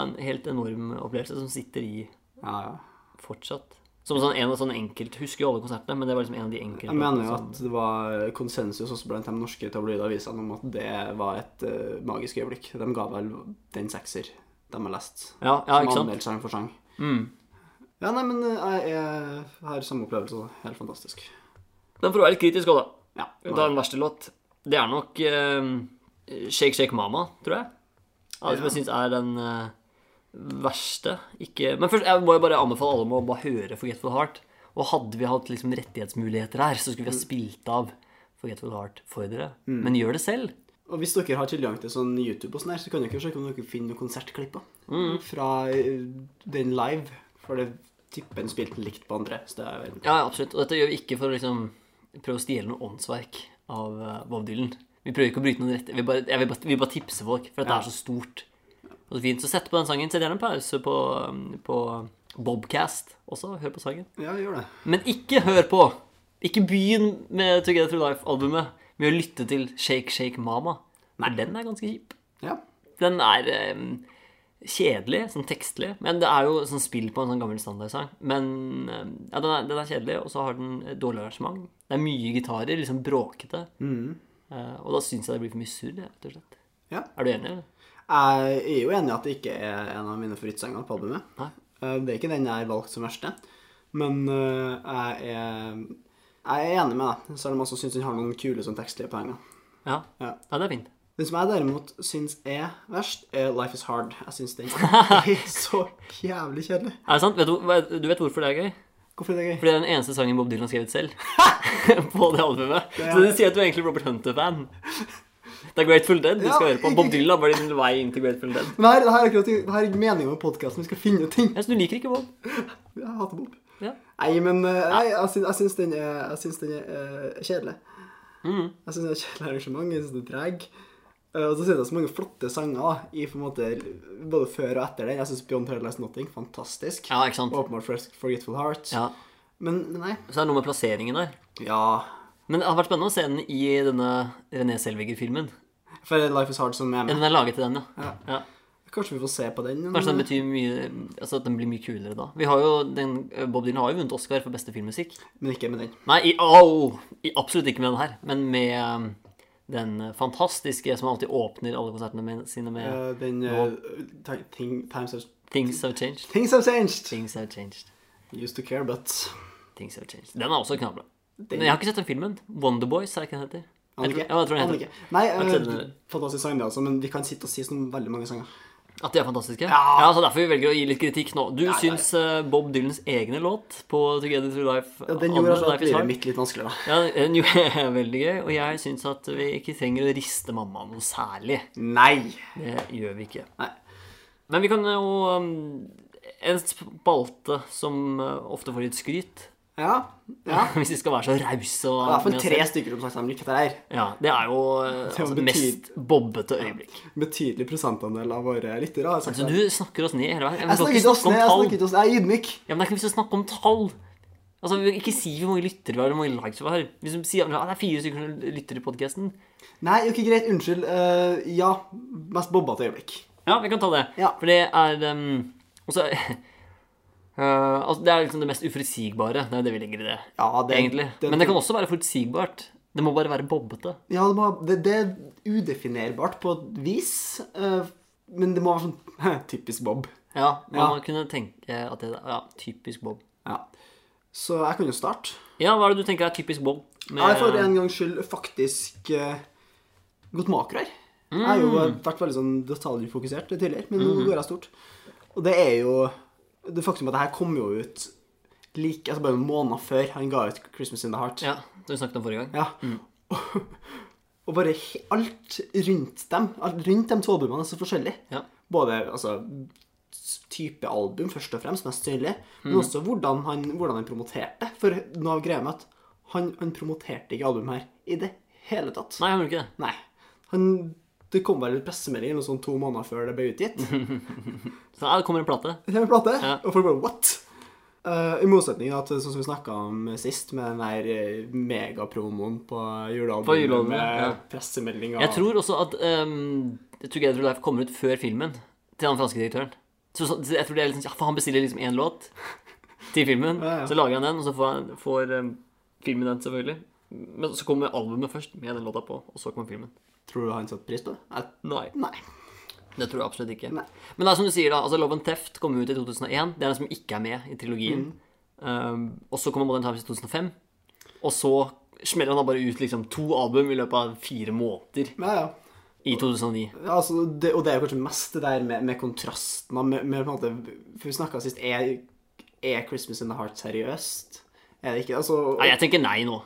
en helt enorm opplevelse som sitter i Ja, ja. fortsatt. Som sånn, en av sånne enkelt, Husker jo alle konsertene, men det var liksom en av de enkelte. Jeg mener jo som- at det var konsensus også blant de norske tabloidavisene om at det var et eh, magisk øyeblikk. De ga vel den sekser de har lest. Ja, ja, ikke som sant? Mm. anmeldt sang for sang. Ja, nei, men eh, jeg, jeg har samme opplevelse. også. Helt fantastisk. Men for å være litt kritisk òg, da. Ja. Ta en verste låt. Det er nok um, Shake Shake Mama, tror jeg. Ja, Som jeg syns er den uh, verste. Ikke Men først jeg må jeg bare anbefale alle om å bare høre Forgetful Heart. Og hadde vi hatt liksom rettighetsmuligheter her, så Mm. skulle vi ha spilt av Forgetful Heart for dere. Men gjør det selv. Og hvis dere har tilgang til sånn YouTube og sånn her, så kan dere sjekke om dere finner noen konsertklipper Mm. fra eh, den live. For det tipper en spilte likt på andre steder. Ja, ja, absolutt. Og dette gjør vi ikke for å liksom prøve å stjele noe åndsverk av eh, Bob Dylan. Vi prøver ikke å bryte noen rette. Vi bare, jeg vil bare, vi bare tipser folk, for dette Ja. er så stort og så fint. Så sett på den sangen. Sett gjerne en pause på, um, på Bobcast også. Hør på sangen. Ja, gjør det. Men ikke hør på! Ikke begynn med Together Through Life-albumet med å lytte til Shake Shake Mama. Nei, den er ganske kjip. Ja. Den er em, kjedelig, sånn tekstlig. Men det er jo sånn spill på en sånn gammel standardsang. Men em, ja, den, er, den er kjedelig, og så har den et dårlig arrangement. Det er mye gitarer, liksom bråkete. Eh, og da syns jeg det blir for mye surr, jeg, rett og slett. Ja. Er du enig, eller? Jeg er jo enig i at det ikke er en av mine favorittsanger på albumet. Nei. Eh, Det er ikke den jeg har valgt som verste. Men eh, jeg er, jeg er enig med deg, selv om jeg også syns den har noen kule sånn tekstlige poenger. Ja. ja. Ja. det er fint. Den som jeg derimot syns er verst, er Life Is Hard. Jeg syns den er så jævlig kjedelig. Er det sant? Vet du, hva- du vet hvorfor det er gøy? Hvorfor er det gøy? Fordi det er den eneste sangen Bob Dylan har skrevet selv. på det albumet. er- Så det sier at du er egentlig Robert Hunter-fan. Det er Grateful Dead du Ja, skal høre på. ikke- Bob Dylan var din vei inn til Grateful Dead. Men her, det her er akkurat det her er meningen med podkasten. Vi skal finne ut ting. Jeg synes du liker ikke Bob. Jeg hater Bob. Ja. Nei, men eh, nei, jeg, syns, jeg syns den er, jeg syns den er eh, kjedelig. Mm. Jeg syns det er et kjedelig arrangement. Jeg syns det er treg. Eh, og så syns jeg det er så mange flotte sanger da, i på en måte, både før og etter den. Jeg syns Beyond Paradise Nothing fantastisk. Ja, ikke sant? Og Åpenbart Forget- Forgetful Heart. ja. Men men nei. Så er det noe med plasseringen der. Ja. Men det har vært spennende å se den i denne René Selviger-filmen. For Life Is Hard som er med. Den er laget til den, ja. ja. Kanskje vi får se på den. men- Kanskje den betyr mye Altså at den blir mye kulere da. Vi har jo den, Bob Dylan har jo vunnet Oscar for beste filmmusikk. Men ikke med den. Nei, i, au! I, absolutt ikke med den her, men med um, den fantastiske som alltid åpner alle konsertene med, sine med Eh, den eh, ti- ting, times, have, Things Have Changed. things Have Changed. Things Have Changed. Used to care, but Things Have Changed. Den er også knallbra. Men jeg har ikke sett den filmen. Wonderboys, er det ikke den heter? Jeg Anne tror, ikke. ja, jeg tror den Anne heter. ikke. Nei, eh, Jeg tror den- fantastisk sang, det altså, men vi kan sitte og si sånn veldig mange sanger. At de er fantastiske? så Derfor vi velger å gi litt kritikk nå. Du syns eh, Bob Dylans egne låt på Together Through Life Ja, den albumet gjorde altså at Life is Hard, livet mitt litt vanskeligere, da. Ja, den gjorde veldig gøy, og jeg syns at vi ikke trenger å riste mamma noe særlig. Nei! Det gjør vi ikke. Nei. Men vi kan jo um, En spalte som eh, ofte får litt skryt, Ja. ja. hvis vi skal være så rause og I hvert fall med oss tre selv. stykker som sagt de likte det her. Ja, det er jo eh, er jo altså, betyd- mest bobbete øyeblikk. Betydelig prosentandel av våre lyttere har sagt Så Altså, det. du snakker oss ned hele veien. Jeg snakker ikke oss ned, jeg snakker ikke oss Jeg er ydmyk. Ja, men det er ikke noe vits i å snakke om tall. Altså, vi- Ikke si hvor mange lyttere vi har, eller hvor mange likes vi har. Hvis du sier at det er fire stykker som lytter til podkasten Nei, ok, greit. Unnskyld. Eh, ja. Mest bobbete øyeblikk. Ja, vi kan ta det. Ja. For det er um, også, Eh, altså, Det er liksom det mest uforutsigbare. Det er jo det vi legger i det. Ja, det- egentlig. det- Men det kan også være forutsigbart. Det må bare være bobbete. Ja, det, må, det, det er udefinerbart på et vis, eh, men det må være sånn typisk Bob. Ja, Man Ja. må kunne tenke at det er ja, typisk Bob. Ja. Så jeg kan jo starte. Ja, hva er det du tenker er typisk Bob? Med- Jeg er for en gangs skyld faktisk eh, gått makro her. Jeg har jo vært veldig sånn detaljfokusert tidligere, men nå går jeg stort. Og det er jo det faktum at det her kom jo ut like, altså bare noen måneder før han ga ut 'Christmas in the Heart'. Ja, det vi snakket om forrige gang. Ja. Og bare he- alt rundt dem, alt rundt de to albumene er så forskjellig. Ja. Både altså, s- type album, først og fremst, mest tydelig, Mm. men også hvordan han, hvordan han promoterte. For noe av greia med at han, han promoterte ikke albumet her i det hele tatt. Nei, jeg gjorde ikke det. Nei. Han, det kom vel en pressemelding eller noe sånt to måneder før det ble utgitt. Mhm. Så ja, det kommer en plate. Det er en plate, Ja. og folk bare what? Eh, I motsetning da til sånn som vi snakka om sist, med den der eh, megapromoen på På julealbumet julealbumet, med ja. pressemeldinger Jeg tror også at um, Together Through Life kommer ut før filmen til den franske direktøren. Så, så så jeg tror det er liksom, ja, for Han bestiller liksom én låt til filmen, Ja, ja. så lager han den, og så får, han, får um, filmen den, selvfølgelig. Men så kommer albumet først, med den låta på, og så kommer filmen. Tror du han satte pris på det? Jeg- Nei. Nei. Det tror jeg absolutt ikke. Nei. Men det er som du sier da, altså Love and Theft kom ut i 2001. Det er den som ikke er med i trilogien. Mm. Um, og så kommer Modern Times i 2005. Og så smeller han da bare ut liksom to album i løpet av fire måneder Ja, ja. i 2009. Ja, Altså, det, og det er jo kanskje mest det der med, med kontrasten da, med, med på en måte, For vi snakka sist er, er 'Christmas in the Heart' seriøst? Er det ikke? Altså Nei, jeg tenker nei nå.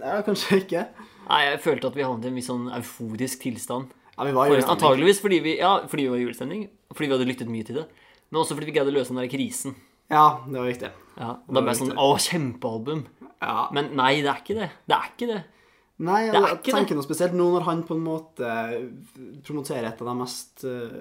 ja, Kanskje ikke. Nei, jeg følte at vi havnet i en viss sånn euforisk tilstand. Ja, vi var jo Forresten, Antageligvis fordi vi, ja, fordi vi var i julestemning, fordi vi hadde lyttet mye til det. Men også fordi vi greide å løse den der krisen. Ja, det var riktig. Ja, og da ble jeg sånn Å, kjempealbum! Ja. Men nei, det er ikke det. Det er ikke det. Nei, jeg Det er ikke tenker noe spesielt nå når han på en måte eh, promoterer et av de mest eh,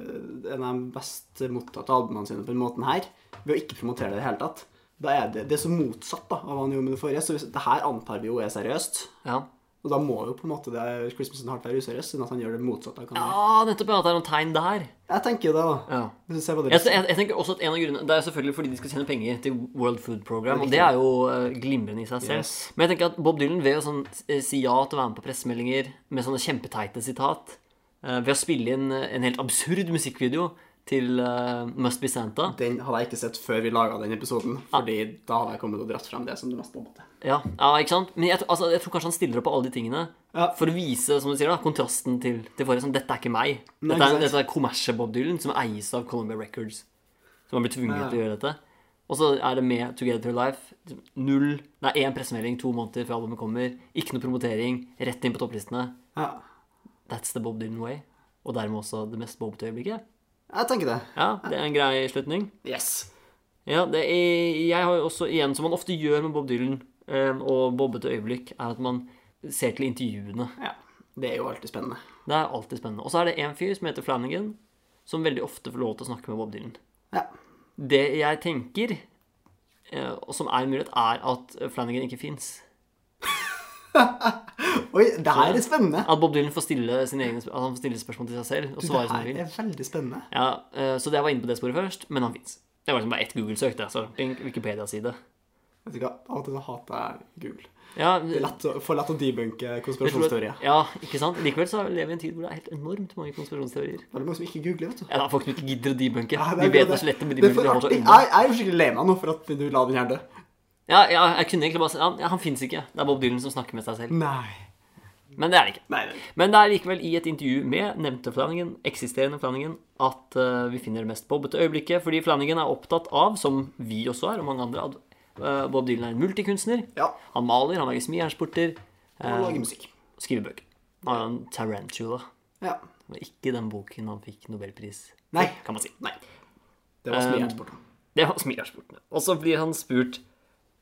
En av de best mottatte albumene sine på den måten her, ved å ikke promotere det i det hele tatt. Da er det, det er så motsatt da, av hva han gjorde med det forrige. Så hvis, det her antar vi jo er seriøst. Ja, Og da må jo på en måte det Christmas in the Heart være useriøst, siden at han gjør det motsatte. av hva han gjør. ah, nettopp. Ja, at det er noen tegn der. Jeg tenker det, da. Ja. Hvis vi ser på det Jeg, jeg, jeg tenker også at en av grunnene Det er selvfølgelig fordi de skal tjene penger til World Food Program, og Det det er er jo eh, glimrende i seg selv. Yes. Men jeg tenker at Bob Dylan ved å sånn, eh, si ja til å være med på pressemeldinger med sånne kjempeteite sitat, eh, ved å spille inn eh, en helt absurd musikkvideo til eh, Must Be Santa Den hadde jeg ikke sett før vi laga den episoden, fordi da hadde jeg kommet og dratt frem det som det mest på en måte. Ja, ja ikke sant? Men jeg, tror- altså, jeg tror kanskje han stiller opp på alle de tingene Ja. for å vise som du sier da, kontrasten til, til forrige. Sånn, dette er ikke meg. Nei, Dette ikke er, sant. dette er kommersielle Bob Dylan som eies av Columbia Records. Som har blitt tvunget Ja. til å gjøre dette. Og så er det med Together Through Life. Null, det er én pressemelding to måneder før albumet kommer. Ikke noe promotering. Rett inn på topplistene. Ja. That's the Bob Dylan way. Og dermed også det mest bobbete øyeblikket. Jeg tenker det. Ja, det er en grei slutning. Yes. Ja, det er, jeg har jo også, igjen, som man ofte gjør med Bob Dylan eh, og bobbete øyeblikk, er at man ser til intervjuene. Ja. Det er jo alltid spennende. Det er alltid spennende. Og så er det en fyr som heter Flanagan, som veldig ofte får lov til å snakke med Bob Dylan. Ja. Det jeg tenker, eh, og som er en mulighet, er at Flanagan ikke fins. Oi, det her er spennende! At Bob Dylan får stille, sine egne, sp- at han får stille spørsmål til seg selv og Det svare som her han vil. er veldig spennende. Ja, eh, så jeg var inne på det sporet først, men han fins. Det var liksom bare ett Google-søk. det, så ping, Wikipedia-side. Vet du hva, Av og til så hater jeg Google. Ja, Det er lett å, for lett å debunke jeg tror at- konspirasjonsteorier. Ja, ikke sant? Likevel så lever vi i en tid hvor det er helt enormt mange konspirasjonsteorier. Veldig mange som ikke googler, vet du. Ja, det er folk som ikke gidder å debunke. Ja, det De er vet det. det slett men de Det er debunker. De holder for artig. seg unna. Jeg, jeg er jo skikkelig lei meg nå for at du la den her dø. Ja, ja, jeg kunne egentlig bare si ja, ja, han fins ikke. Det er Bob Dylan som snakker med seg selv. Nei. Men det er det ikke. Nei, nei. Men det er likevel i et intervju med nevnte Flanagan, eksisterende Flanagan, at eh, vi finner det mest bobbete øyeblikket. Fordi Flanagan er opptatt av, som vi også er, og mange andre, at eh, Bob Dylan er en multikunstner. Ja. Han maler, han lager smijernsporter, Eh, Han lager musikk. og skriver bøker. Han er en tarantula. Ja. Det var ikke den boken han fikk nobelpris Nei. kan man si. Nei. Det var eh, smijernsport. Det var smilersportene. Og så blir han spurt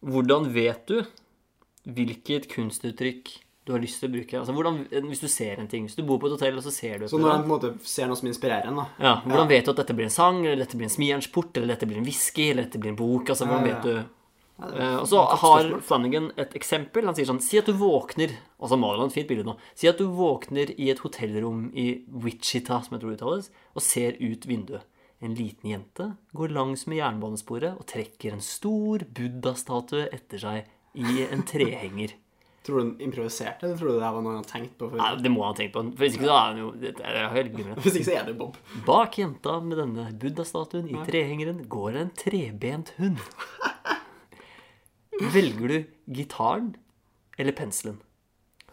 hvordan vet du hvilket kunstuttrykk du har lyst til å bruke? Altså, hvordan, hvis du ser en ting, hvis du bor på et hotell og så ser du et Så når eller han annet, på en måte ser noe som inspirerer en, da ja, Hvordan vet du at dette blir en sang, eller dette blir en smijernsport, eller dette blir en whisky, eller dette blir en bok? altså hvordan Ja, vet ja, du? Eh, og så har Flanagan et eksempel. Han sier sånn Si at du våkner Og så maler han et fint bilde nå. Si at du våkner i et hotellrom i Wichita, som jeg tror det uttales, og ser ut vinduet. En liten jente går langs med jernbanesporet og trekker en stor buddha-statue etter seg i en trehenger. Tror du han improviserte, eller tror du det her var noe han hadde tenkt på? Nei, For... det må han tenke på. For hvis ikke så er han jo det er helt glimrende. Hvis ikke så er det Bob. Bak jenta med denne buddha-statuen i trehengeren går en trebent hund. Velger du gitaren eller penselen?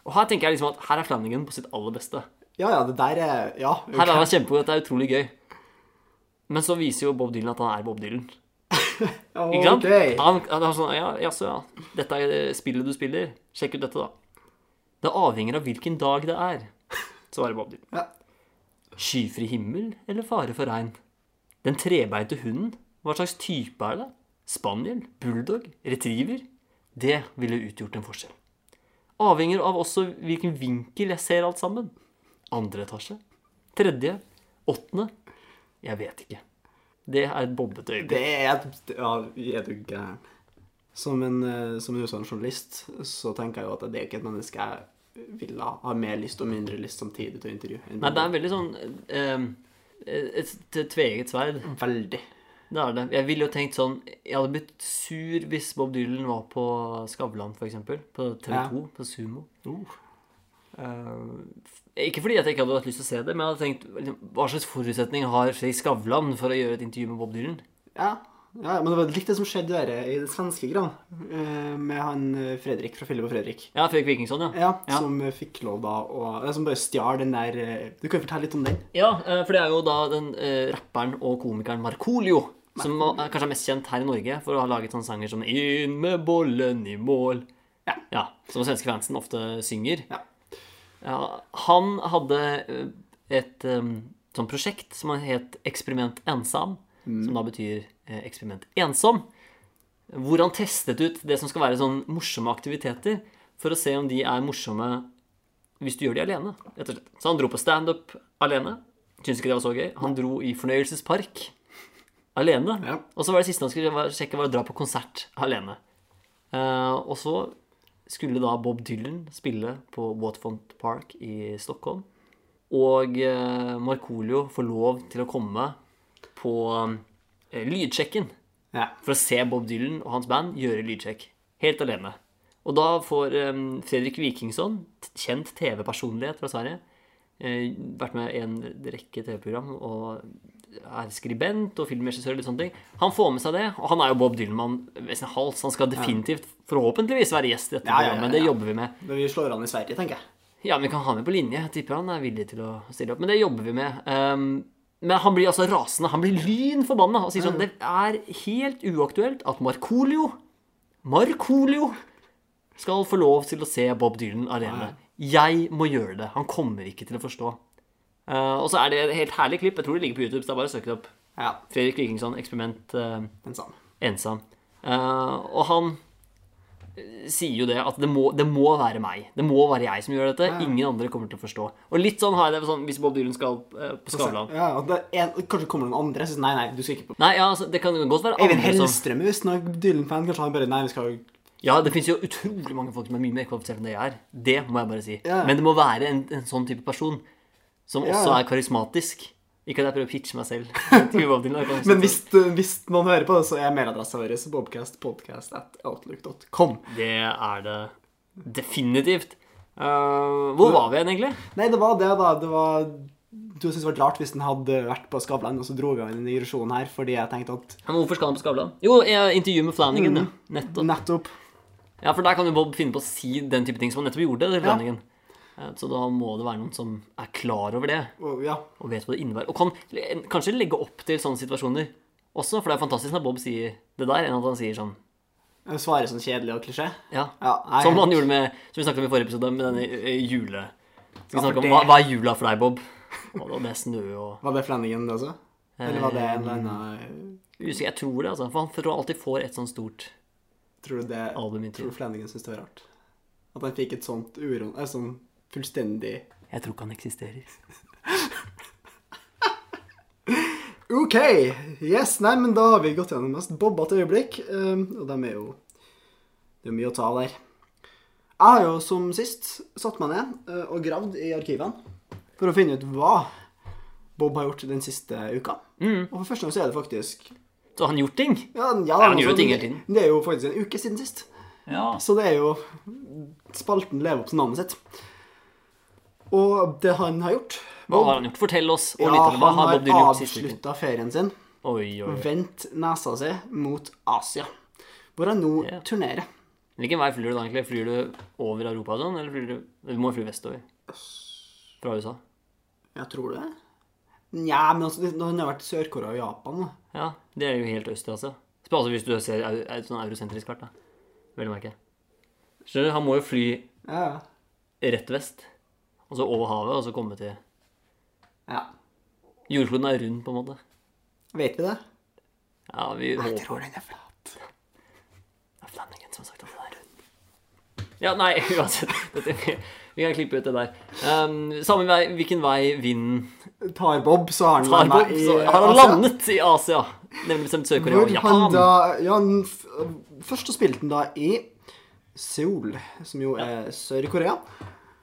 Og her tenker jeg liksom at her er Flanagan på sitt aller beste. Ja, ja, det der er Ja. ok. Her er han kjempegod, dette er utrolig gøy. Men så viser jo Bob Dylan at han er Bob Dylan. Ikke sant? Ok. Han, han er sånn, ja, jaså, ja. Dette er det spillet du spiller. Sjekk ut dette, da. Det avhenger av hvilken dag det er, svarer Bob Dylan. Ja. Skyfri himmel eller fare for regn? Den trebeinte hunden? Hva slags type er det? Spaniel? Bulldog? Retriever? Det ville utgjort en forskjell. Avhenger av også hvilken vinkel jeg ser alt sammen. Andre etasje? Tredje? Åttende? Jeg vet ikke. Det er et bobbete øyeblikk. Det er et Ja, er du gæren. Som en, eh, som en usann journalist så tenker jeg jo at det er ikke et menneske jeg ville ha- ha mer lyst og mindre lyst samtidig til å intervjue. enn Nei, Bob. det er veldig sånn eh, et t- tveegget sverd. veldig. Det er det. Jeg ville jo tenkt sånn Jeg hadde blitt sur hvis Bob Dylan var på Skavlan, f.eks. På TV2, på Sumo. Eh, ikke fordi at jeg ikke hadde hatt lyst til å se det, men jeg hadde tenkt liksom, Hva slags forutsetning har Fredrik Skavlan for å gjøre et intervju med Bob Dylan? Ja. ja, men det var litt det som skjedde der i den svenske gran, eh, med han eh, Fredrik fra Filip og Fredrik. Ja, Fredrik Wikingsson, ja. Ja, Som eh, fikk lov da å eh, Som bare stjal den der eh, Du kan jo fortelle litt om den. Ja, eh, for det er jo da den eh, rapperen og komikeren Markolio som er kanskje er mest kjent her i Norge for å ha laget sånne sanger som 'Inn med bollen i mål'. Ja. Som svenske fansen ofte synger. Ja. Ja, han hadde eh, et eh, sånt prosjekt som han het Eksperiment ensam, Mm. som da betyr eh, eksperiment ensom, hvor han testet ut det som skal være sånn morsomme aktiviteter, for å se om de er morsomme hvis du gjør de alene, rett og slett. Så han dro på standup alene. Syns ikke det var så gøy. Han dro i fornøyelsespark alene. Ja. Og så var det siste han skulle var- sjekke, var å dra på konsert alene. Eh, og så skulle da Bob Dylan spille på Watfont Park i Stockholm. Og eh, Markolio får lov til å komme på eh, lydsjekken Ja. for å se Bob Dylan og hans band gjøre lydsjekk. Helt alene. Og da får em, Fredrik Wikingsson, t- kjent TV-personlighet fra Sverige, eh, vært med i en rekke TV-program og er skribent og filmregissør og litt sånne ting. Han får med seg det, og han er jo Bob Dylan-mann ved sin hals. Han skal definitivt, forhåpentligvis, være gjest i dette Ja, ja, ja, programmet. Det ja. jobber vi med. Men vi slår an i Sverige, tenker jeg. Ja, men vi kan ha med på linje. Jeg tipper han er villig til å stille opp. Men det jobber vi med. Em, men han blir altså rasende. Han blir lyn forbanna og sier sånn Det er helt uaktuelt at Markolio Markolio skal få lov til å se Bob Dylan alene. Jeg må gjøre det. Han kommer ikke til å forstå. Eh, og så er det et helt herlig klipp. Jeg tror det ligger på YouTube. så det er bare å søke det opp. Ja, Fredrik Wikingsson, eksperiment eh, den samme. ensom. Eh, og han eh, sier jo det at det må, det må være meg. Det må være jeg som gjør dette. Ingen andre kommer til å forstå. Og litt sånn har jeg det sånn, hvis Bob Dylan skal eh, på Skavlan. Ja, og det er en, Kanskje kommer det noen andre. Jeg synes, nei, nei, du skal ikke på Nei, ja, altså, det kan godt være Eivind andre som Hellstrøm er visst nok Dylan-fan. Kanskje han bare Nei, vi skal Ja, det fins jo utrolig mange folk som er mye mer kvalifisert enn det jeg er. Det må jeg bare si. Ja. Men det må være en, en sånn type person som Ja. også er karismatisk. Ikke at jeg prøver å pitche meg selv. til Bob Dylan, jeg kan også- Men hvis, eh, hvis noen hører på det, så er mailadressa vår bobcastpodcast.outlook.com. Det er det definitivt. Eh, hvor var vi igjen, egentlig? Nei, det var det, da. Det var Du syntes det var rart hvis den hadde vært på Skavlan, og så dro vi av den digresjonen her fordi jeg tenkte at Men hvorfor skal han på Skavlan? Jo, eh, intervju med Flanagan. Mm. Ja. Nettopp. nettopp Ja, for der kan jo Bob finne på å si den type ting som han nettopp gjorde. Det, Ja. Flanagan. Eh, Så da må det være noen som er klar over det, og, Ja. og vet hva det innebærer. Og kan le- kanskje legge opp til sånne situasjoner også, for det er fantastisk når Bob sier det der, enn at han sier sånn Svare sånn kjedelig og klisjé. Ja. Ja, nei, Som han gjorde med Som vi snakket om i forrige episode, med denne eh, jule... Skal vi Ja, for snakke om det- hva, hva er jula for deg, Bob? Og det er snø og Var det Flanagan, det også? Eller var det en eller annen Usikker, jeg tror det, altså. For han tror han alltid får et sånn stort Tror du det album Tror intervju. du Flanagan syntes det var rart? At han fikk et sånt uron... Et sånn fullstendig Jeg tror ikke han eksisterer. OK! Yes, nei, men da har vi gått gjennom mest bobbete øyeblikk. Um, og de er jo Det er mye å ta av der. Jeg har jo som sist satt meg ned eh, og gravd i arkivene for å finne ut hva Bob har gjort den siste uka. Mm. Og for første gang så er det faktisk Så har han gjort ting? Ja, ja, han gjør altså, jo ting hele tiden. Det er jo faktisk en uke siden sist. Ja. Så det er jo Spalten lever opp til navnet sitt. Og det han har gjort Hva har han gjort? Fortell oss. Og Ja, litt om hva han har Bob Dylan har gjort siste uken? avslutta ferien sin Oi, oi, oi. vendt nesa si mot Asia, hvor han nå Ja. turnerer. Hvilken vei flyr du da, egentlig? Flyr du over Europa og sånn, eller flyr du Du må jo fly vestover. Fra USA. Ja, tror du det? Nja, men altså, det- han har vært i Sør-Korea og Japan. da. Ja, det er jo helt øst i Asia. Spør Altså hvis du ser au- et sånn eurosentrisk kart, da. Vel å merke. Skjønner du, han må jo fly Ja, ja. rett vest, og så over havet, og så komme til ja. Jordkloden er rund, på en måte. Vet vi det? Ja, vi Jeg håper tror den er flat. Det er Flanagan som har sagt at den er rund. Ja, nei, uansett. Dette, vi kan klippe ut det der. Um, samme vei, hvilken vei vinden Tar Bob, så har han tar landet Bob, i så har han Asia. landet i Asia. Nemlig bestemt Sør-Korea altså, og Hvor Japan. han da ja, han f Først så spilte han da i Seoul, som jo er Sør-Korea.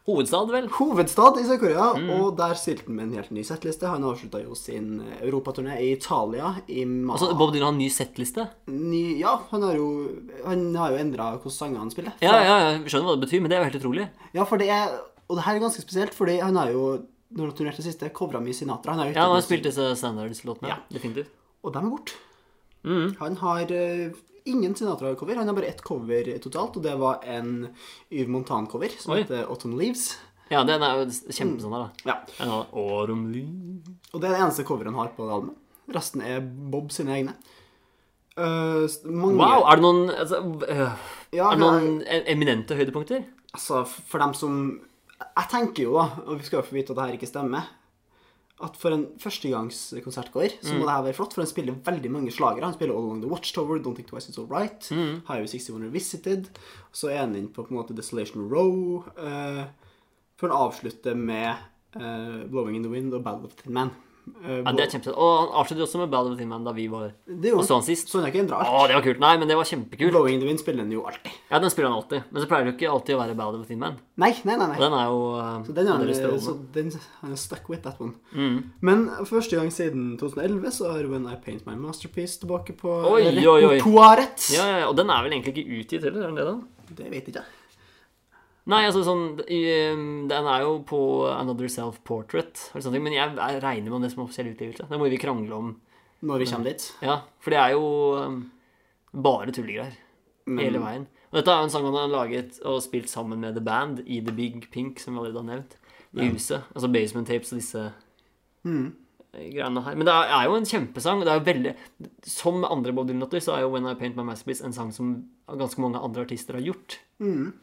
Hovedstad, vel? Hovedstad i Sør-Korea, Mm. og der stilte han med en helt ny settliste. Han avslutta jo sin europaturné i Italia i mai Altså, Bob Dylan har en ny settliste. Ny- Ja, han har jo, han har jo endra hvilke sanger han spiller. Ja, ja, ja, vi skjønner hva det betyr, men det er jo helt utrolig. Ja, for det er Og det her er ganske spesielt, fordi han har jo, når han turnerte siste, covra mye Sinatra. Han har jo Ja, han har utgitt- spilt disse standards-låtene. Ja. Definitivt. Og dem er borte. Mm. Han har eh, ingen Sinatra-cover. Han har bare ett cover totalt, og det var en Yves Montan-cover som Oi. heter Autumn Leaves. Ja, den er jo kjempesånn, da. Ja. Den har Autumn Leaves. Og det er det eneste coveret han har på det albumet. Resten er Bob sine egne. Eh, s- mange, Wow! Er det noen, altså, øh, Ja, er det noen eminente høydepunkter? Altså, f- for dem som Jeg tenker jo, da, og vi skal jo få vite at det her ikke stemmer, at for en førstegangskonsertgåer Mm. så må det her være flott, for han spiller veldig mange slagere. Han spiller All Along The Watchtower, Don't Think Twice It's All Right, Mm. Highway 61 Revisited, så er han inne på på en måte Desolation Row, eh, før han avslutter med eh, Blowing In The Wind og Battle of the Tin Man. Eh, Ja, det er kjempesøtt. Og han avslutter også med Battle of the Tin Man da vi var det gjorde Og så han sist. Så han har ikke endra Å, alt. det var kult. Nei, men det var kjempekult. Blowing In The Wind spiller han jo alltid. Ja, den spiller han alltid. Men så pleier det jo ikke alltid å være Battle of the Tin Man. Nei, nei, nei. nei. Og den er jo eh, Så den veldig er, strålende. så den, han er stuck with that one. Mm. Men første gang siden 2011 så har When I Paint My Masterpiece tilbake på Oi, oi, oi. repertoaret. ja, ja, ja, og den er vel egentlig ikke utgitt heller, er den det da? Det vet ikke jeg. Nei, altså sånn i- Den er jo på Another Self-Portrait, eller sånne ting, men jeg, jeg regner med det som offisiell utgivelse. Det må vi krangle om. Når vi kommer dit. Ja, for det er jo eh, bare tullegreier hele veien. Og dette er jo en sang han har laget og spilt sammen med The Band i The Big Pink, som vi allerede har nevnt, i huset. Altså Basement Tapes og disse Mm. eh, greiene her. Men det er, er jo en kjempesang. og Det er jo veldig, som med andre Bob Dylan-låter så er jo When I Paint My Masterpiece en sang som ganske mange andre artister har gjort. Mm.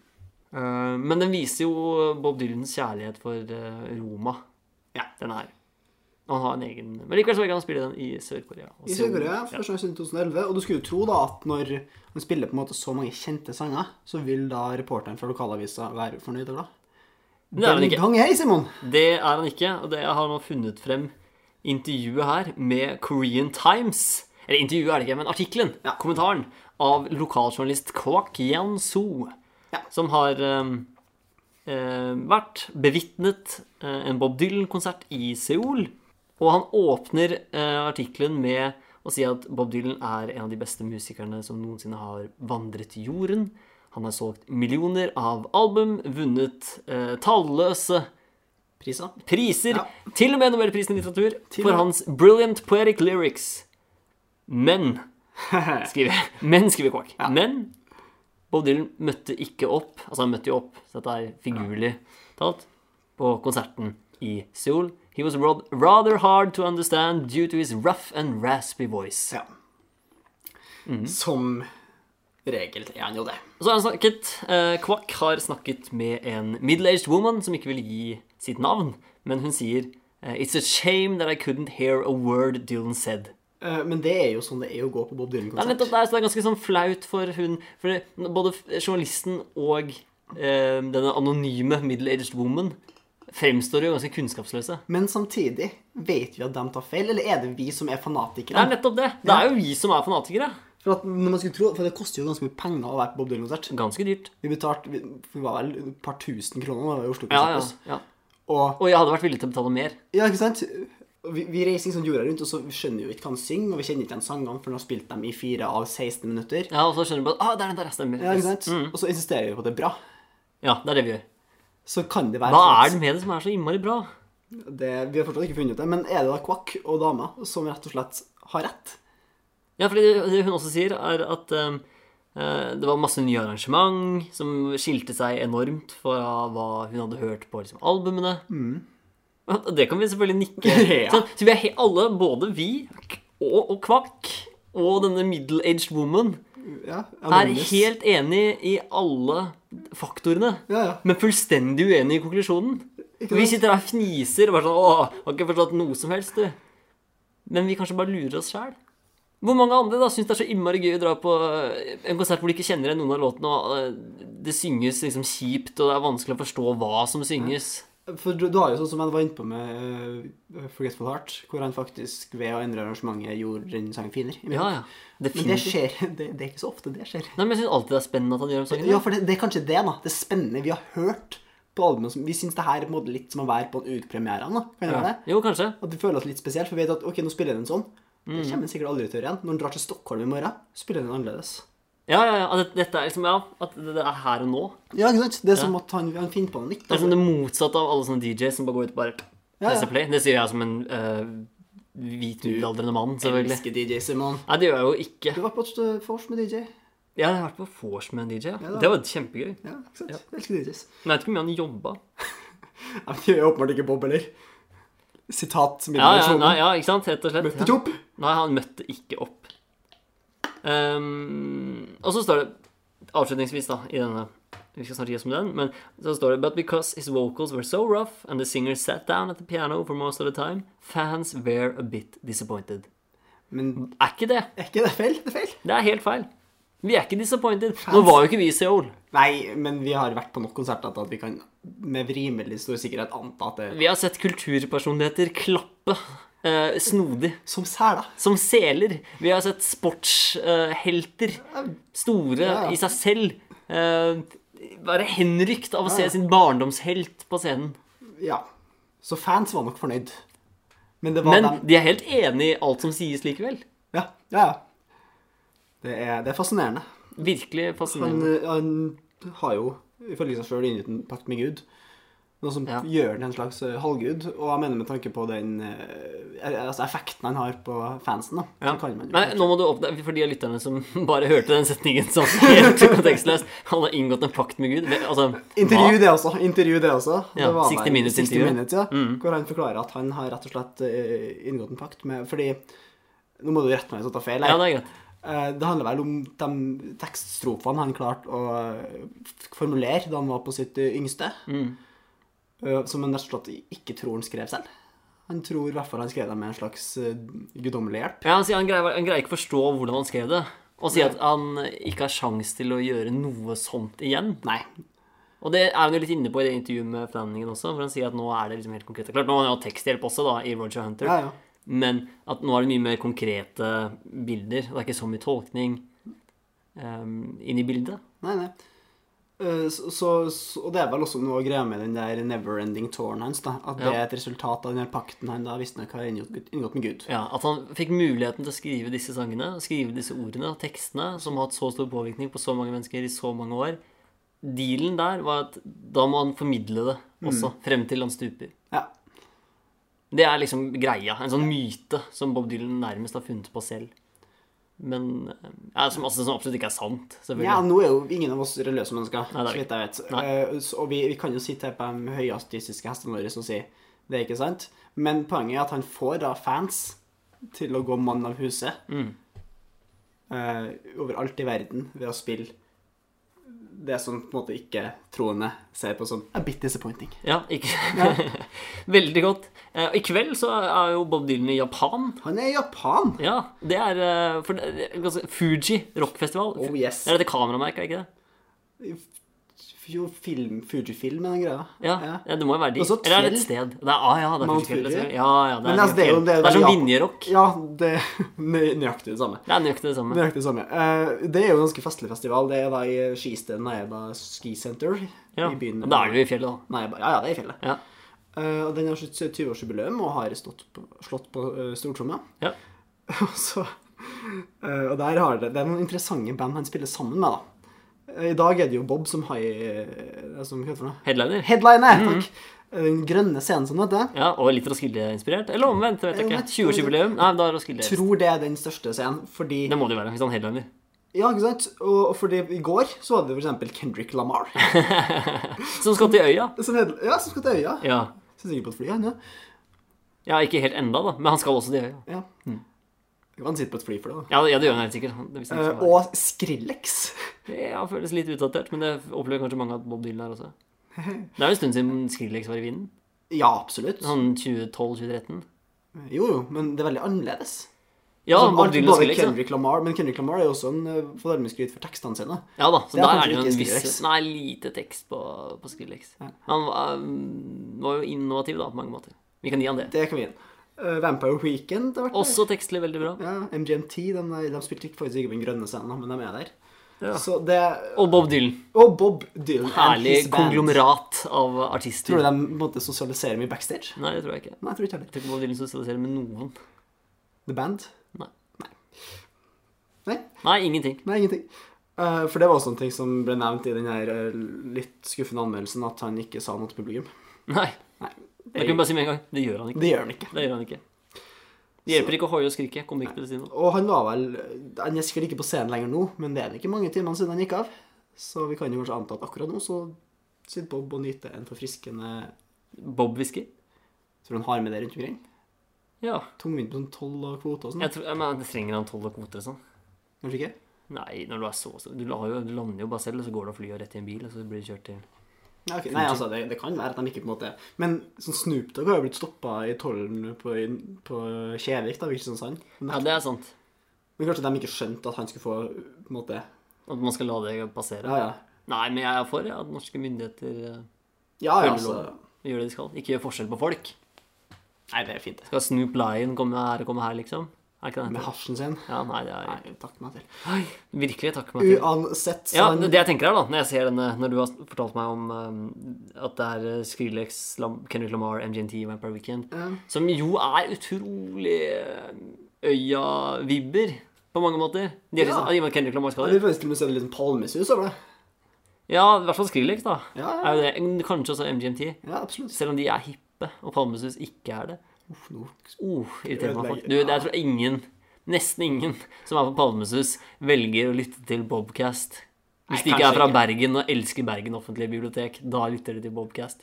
Eh, men den viser jo Bob Dylans kjærlighet for eh, Roma, Ja. denne her. Og han har en egen Men likevel så velger han å spille den i Sør-Korea. Og I Seoul. Sør-Korea, Ja. første gang siden 2011. Og du skulle jo tro da at når han spiller på en måte så mange kjente sanger, så vil da reporteren fra lokalavisa være fornøyd og glad. Men det er han Den ikke. gang hei, Simon! Det er han ikke, og det har man funnet frem intervjuet her med Korean Times. Eller intervjuet er det ikke, men artikkelen, kommentaren, av lokaljournalist Kwak Yan-soo, Ja. som har ehm, eh, vært bevitnet eh, en Bob Dylan-konsert i Seoul. Og han åpner eh, artikkelen med å si at Bob Dylan er en av de beste musikerne som noensinne har vandret jorden. Han har solgt millioner av album, vunnet eh, talløse Prisa. priser, Ja. til og med Nobelprisen i litteratur, Til for og med. hans brilliant poetic lyrics. Men skriver Men skriver Quark. Men Bob Dylan møtte ikke opp. Altså, han møtte jo opp, så dette er figurlig talt, på konserten i Seoul. He was rod- rather hard to understand due to his rough and raspy voice. Ja. Mhm. Som regel er han jo det. Og Så har han snakket eh, Kvakk har snakket med en middle-aged woman som ikke vil gi sitt navn, men hun sier eh, It's a shame that I couldn't hear a word Dylan said. Eh, Men det er jo sånn det er å gå på Bob Det er, nettopp Dylan-konsert. der, så det er ganske sånn flaut for hun For det- både f- journalisten og eh, denne anonyme middle-aged woman fremstår jo ganske kunnskapsløse. Men samtidig, vet vi at de tar feil, eller er det vi som Det er er fanatikere? nettopp det. Det er jo vi som er fanatikere. For, at når man skulle tro, for det koster jo ganske mye penger å være på Bob Dylan-konsert. Ganske dyrt. Vi betalte vi, vi var vel et par tusen kroner da vi var i Ja, Oslo. konsert, ja, altså. ja. Og, Og jeg hadde vært villig til å betale mer. ja, ikke sant? Vi, vi reiser liksom jorda rundt, og så vi skjønner jo ikke hva han synger, og vi kjenner ikke igjen sangene før han har spilt dem i 4 av 16 minutter. Ja, Mm. Og så skjønner du bare ah, det er den der jeg stemmer. Ja, ikke Yes. sant? Og så insisterer vi på at det er bra. Ja, det er det vi gjør. Så kan det være Hva at- er det med det som er så innmari bra? det, Vi har fortsatt ikke funnet ut det, men er det da Kvakk og dama som rett og slett har rett? Ja, fordi det, det hun også sier, er at ehm, eh, det var masse nye arrangement som skilte seg enormt fra hva hun hadde hørt på liksom, albumene. Og Det kan vi selvfølgelig nikke. Ja. sånn, så vi er he alle, både vi og, og Kvakk og denne middle-aged woman, Ja, er anonymous. helt enig i alle faktorene. Ja, ja. Men fullstendig uenig i konklusjonen. Ikke Vi sant? sitter her og fniser og bare sånn Åh, har ikke forstått noe som helst, du. Men vi kanskje bare lurer oss sjæl. Hvor mange andre da syns det er så innmari gøy å dra på eh, en konsert hvor de ikke kjenner igjen noen av låtene, og eh, det synges liksom kjipt, og det er vanskelig å forstå hva som synges? For du, du har jo sånn som jeg var inne på med eh, Forgetful Heart, hvor han faktisk ved å endre arrangementet gjorde den sangen finere. Ja, ja. Men det Definitivt. skjer, det, det er ikke så ofte det skjer. Nei, men jeg syns alltid det er spennende at han gjør om sangen. Ja, for det, det er kanskje det, da. Det er spennende. Vi har hørt på albumet som Vi syns det her er på en måte litt som å være på en utpremiere. da. Kan det være det? Jo, kanskje. At vi føler oss litt spesielt, for vi vet at ok, nå spiller den sånn. Det kommer den sikkert aldri til å gjøre igjen. Når den drar til Stockholm i morgen, spiller den annerledes. Ja, ja, ja. At dette er liksom Ja, at det det er her og nå. Ja, ikke sant? Det er som at han, han finner på noe nytt. Det da. er som det motsatte av alle sånne DJs som bare går ut og bare Ja, ja. presser play. Det sier jeg som en uh, hvit middelaldrende mann, selvfølgelig. Elsker DJ Simon. Nei, det gjør jeg jo ikke. Du var på et eh, vors med DJ. Jeg har vært på vors med en DJ. Ja. da. det var kjempegøy. Men Ja, ikke sant? Elsker DJs. jeg vet ikke hvor mye han jobba. Ja, men det gjør åpenbart ikke Bob heller. Sitat Ja, ja, Middelhavssonen. nei, ja, ikke sant? Rett og slett. Møtte ikke opp. Ja. Nei, han møtte ikke opp. Ehm, og så står det avslutningsvis, da, i denne Vi skal snart gi oss med den, men så står det But because his vocals were so rough and the singer sat down at the piano for most of the time, fans were a bit disappointed. Men Er ikke det? er ikke det feil? Det er feil. Det er helt feil. Vi er ikke disappointed. Nå var jo ikke vi i Seoul. Nei, men vi har vært på nok konserter til at vi kan med rimelig stor sikkerhet anta at det Vi har sett kulturpersonligheter klappe eh, snodig Som seler. som seler. Vi har sett sportshelter, store ja. i seg selv, eh, være henrykt av å se sin barndomshelt på scenen. Ja. Så fans var nok fornøyd. Men det var Men dem de er helt enig i alt som sies likevel. Ja, ja. ja. Det er, det er fascinerende. Virkelig Han, fascinerende. han har jo ifølge seg sjøl inngått en pakt med Gud. Noe som Ja. gjør han til en slags eh, halvgud. Og jeg mener med tanke på den eh, altså effekten han har på fansen, da. Ja. Det kan man jo Nei, kanskje. nå må du oppdage For de av lytterne som bare hørte den setningen som helt kontekstløs Han har inngått en pakt med Gud. Det- Altså, Intervju hva? det også. intervju det også. Ja, det var 60 vel Minutes 60 intervju. Mm. Minutes, ja, Hvor han forklarer at han har rett og slett eh, inngått en pakt med Fordi Nå må du rette meg hvis jeg tar feil. her. Ja, det er greit. Eh, det handler vel om de tekststrofene han klarte å eh, formulere Mm. da han var på sitt eh, yngste. Eh, som han rett og slett ikke tror han skrev selv. Han tror i hvert fall han skrev dem med en slags uh, guddommelig hjelp. Ja, han, sier han, greier, han greier ikke forstå hvordan han skrev det. Og sier at han ikke har sjans til å gjøre noe sånt igjen. Nei. Og det er han jo litt inne på i det intervjuet med Flanagan også, hvor han sier at nå er det liksom helt konkret. Klart, nå har han jo hatt teksthjelp også, da, i Roger Hunter. Ja, ja. Men at nå er det mye mer konkrete bilder. Det er ikke så mye tolkning um, inn i bildet. Nei, nei. Eh, Så, så, så- og det er vel også noe greia med den der never-ending tårn hans, da. At det Ja. er et resultat av den her pakten han da visstnok har inngått, inngått med Gud. Ja, At han fikk muligheten til å skrive disse sangene, skrive disse ordene og tekstene, som har hatt så stor påvirkning på så mange mennesker i så mange år. Dealen der var at da må han formidle det Mm. også, frem til han stuper. Ja. Det er liksom greia. En sånn myte som Bob Dylan nærmest har funnet på selv. Men eh, ja, som, altså, som absolutt ikke er sant, Ja, selvfølgelig. nå er jo ingen av oss religiøse mennesker, Nei, det så er vi vidt jeg vet. Nei. Eh, så- Og vi, vi kan jo sitte her på de høyateistiske hestene våre og si det er ikke sant. Men poenget er at han får da fans til å gå mann av huset Mm. eh, overalt i verden ved å spille det som på en måte ikke troende ser på som a bit disappointing. Ja, ikke Veldig godt. Eh, I kveld så er jo Bob Dylan i Japan. Han er i Japan! Ja, det er eh, for, det er ganske- Fuji rockfestival. Oh, yes. Det er dette kameramerket, er ikke det? Jo, film, Fujifilm er den greia. Ja, ja. det må jo være de. Og så Eller er det et Tell. sted? Det er, ah, ja, det er Mount Fuji Fjell, Fuji. det er- Ja, ja, det er, Men altså, det er jo- Fuji det er Fjell. jo det er som Japan. linjerock. Ja, det er nøy- nøyaktig det samme. Det er nøyaktig det samme. Nøyaktig det samme. Eh, det er jo en ganske festlig festival. Det er da i Skisten Naeba Ski Center Ja. i byen. Da er det jo i fjellet, da. Naeba. Ja, ja, det er i fjellet. Ja. Eh, og den har sitt 20-årsjubileum og har stått på, slått på uh, stortromma. Ja. Og så eh, Og der har det Det er noen interessante band han spiller sammen med, da. Eh, I dag er det jo Bob som har eh, som, Hva heter det for noe? Headliner. Headliner! Takk. Mm. Eh, Den grønne scenen som det heter. Ja, og litt Roskilde-inspirert. Eller omvendt, vet jeg Ja, ikke. omvendt. 20-årsjubileum. Nei, da er Roskilde Jeg tror det er den største scenen, fordi Det må det jo være, hvis han headliner. Ja, ikke sant? Og, og fordi i går så var det f.eks. Kendrick Lamar. Som skal til øya. Som heter, ja, som skal til øya. Ja. Sitter sikkert på et fly, han, ja. ja, ikke helt enda, da, men han skal også til øya. ja. Han sitter på et fly for det, da. Ja, ja Mm. det gjør han helt sikkert. Hvis han ikke skal Eh, være. og Skrillex. Ja, føles litt utdatert, men det opplever kanskje mange at Bob Dylan er også. Det er jo en stund siden Skrillex var i vinden. Ja, absolutt. Sånn 2012-2013. Sånn Jo, jo, men det er veldig annerledes. Ja, Som Bob alt- Dylan og både Skrillex. da. Kendrick Lamar, Men Kendrick Lamar er jo også en eh, får dermed skryt for tekstene sine. Ja da, så Det er der kanskje er det jo en ikke viss Skrillex. Nei, lite tekst på, på Skrillex. Han var, um, var jo innovativ da, på mange måter. Vi kan gi han det. Det kan vi gi ham. Vampire Weekend har vært der. Også tekstlig veldig bra. Ja, MGMT. De, er- de spilte ikke- faktisk ikke på den grønne scenen, da, men de er der. Ja. Så det Og Bob Dylan. Og Bob Dylan. and Herlig his band. konglomerat av artister. Tror du de på en måte sosialiserer mye backstage? Nei, det tror jeg ikke. Nei, jeg tror ikke heller. Jeg tror ikke Bob Dylan sosialiserer med noen. The Band? Nei. Nei, Nei, ingenting. nei ingenting. Eh, for det var også en ting som ble nevnt i den her eh, litt skuffende anmeldelsen, at han ikke sa noe til publikum. Nei. Nei, Jeg kan bare si med en gang det gjør han ikke. det gjør han ikke. Det gjør han ikke. Det hjelper ikke å hoie og skrike. Kommer ikke til å si noe. Og han var vel Han er sikkert ikke på scenen lenger nå, men det er ikke mange timene siden han gikk av. Så vi kan jo kanskje anta at akkurat nå så sitter Bob og nyter en forfriskende Bob Whisky? Tror du han har med det rundt omkring? Ja. Tungvint på sånn toll og kvote og sånn? Jeg tror, men trenger han tolv og kvoter og sånn? Kanskje ikke? Nei, når du er så så- Du, har jo, du lander jo bare selv, og så går du og flyr og rett i en bil, og så blir du kjørt til Ja, ok. Nei, altså, det, det kan være at de ikke på en måte Men sånn Snoop Dogg har jo blitt stoppa i tollen på, på Kjevik, da, Kristiansand. Ja, det er sant. Men kanskje de ikke skjønte at han skulle få på en måte At man skal la det passere. Ja, ja. Nei, men jeg er for ja, at norske myndigheter eh, Ja, ja, følger altså. loven. Gjør det de skal. Ikke gjør forskjell på folk. Nei, det er fint, det. Skal Snoop Lion komme her og komme her, liksom? Er ikke det? Med hasjen sin. Ja, nei, det er Nei, takk meg til. Virkelig, takk meg til. Uansett, så Ja, han det det jeg tenker her, da, når jeg ser denne Når du har fortalt meg om eh, at det er eh, Skrillex, Lam Kendrick Lamar, MGNT, Vampire Weekend, som jo er utrolig eh, øya-vibber på mange måter. De er Ja. liksom, I og med at Kendrick Lamar Ja, skal Vi det. får til og med se litt sånn palmesus over det. Ja, i hvert fall Skrillex, da. Ja, ja. Er jo det. Kanskje også MGMT. Ja, absolutt. Selv om de er hippe, og Palmesus ikke er det. Uff, nå. Uh, irriterende folk. Ødelegger. Du, det er, tror jeg ingen, nesten ingen, som er på Palmesus, velger å lytte til Bobcast. Hvis de ikke kanskje er fra ikke. Bergen og elsker Bergen offentlige bibliotek, da lytter de til Bobcast.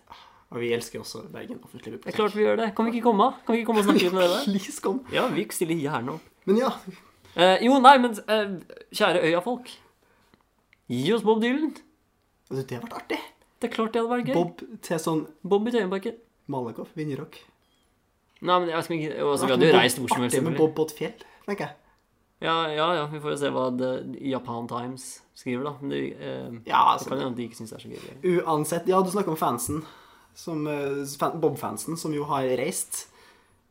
Og vi elsker også Bergen offentlig Det er bibliotek. klart vi gjør det. Kan vi ikke komme? Kan vi ikke komme og snakke litt med dere? Please, kom. Ja, vi stiller gjerne opp. Men ja. Eh, jo, nei, men eh, kjære øya-folk. Gi oss Bob Dylan. Altså, det ble artig. Det er klart det hadde vært gøy. Bob, Bob til sånn i Tøyenbakken. Malakoff, Vinjerock. Nei, men jeg vet ikke, altså, Vi hadde jo reist hvor som helst. Artig med selvfølgelig. Bob på et fjell, tenker jeg. Ja, ja, ja, vi får jo se hva The Japan Times skriver, da. Men det, eh, Ja, det altså, kan jo hende de ikke syns det er så gøy. Uansett, ja, du snakker om fansen. Som, eh, fan, Bob-fansen, som jo har reist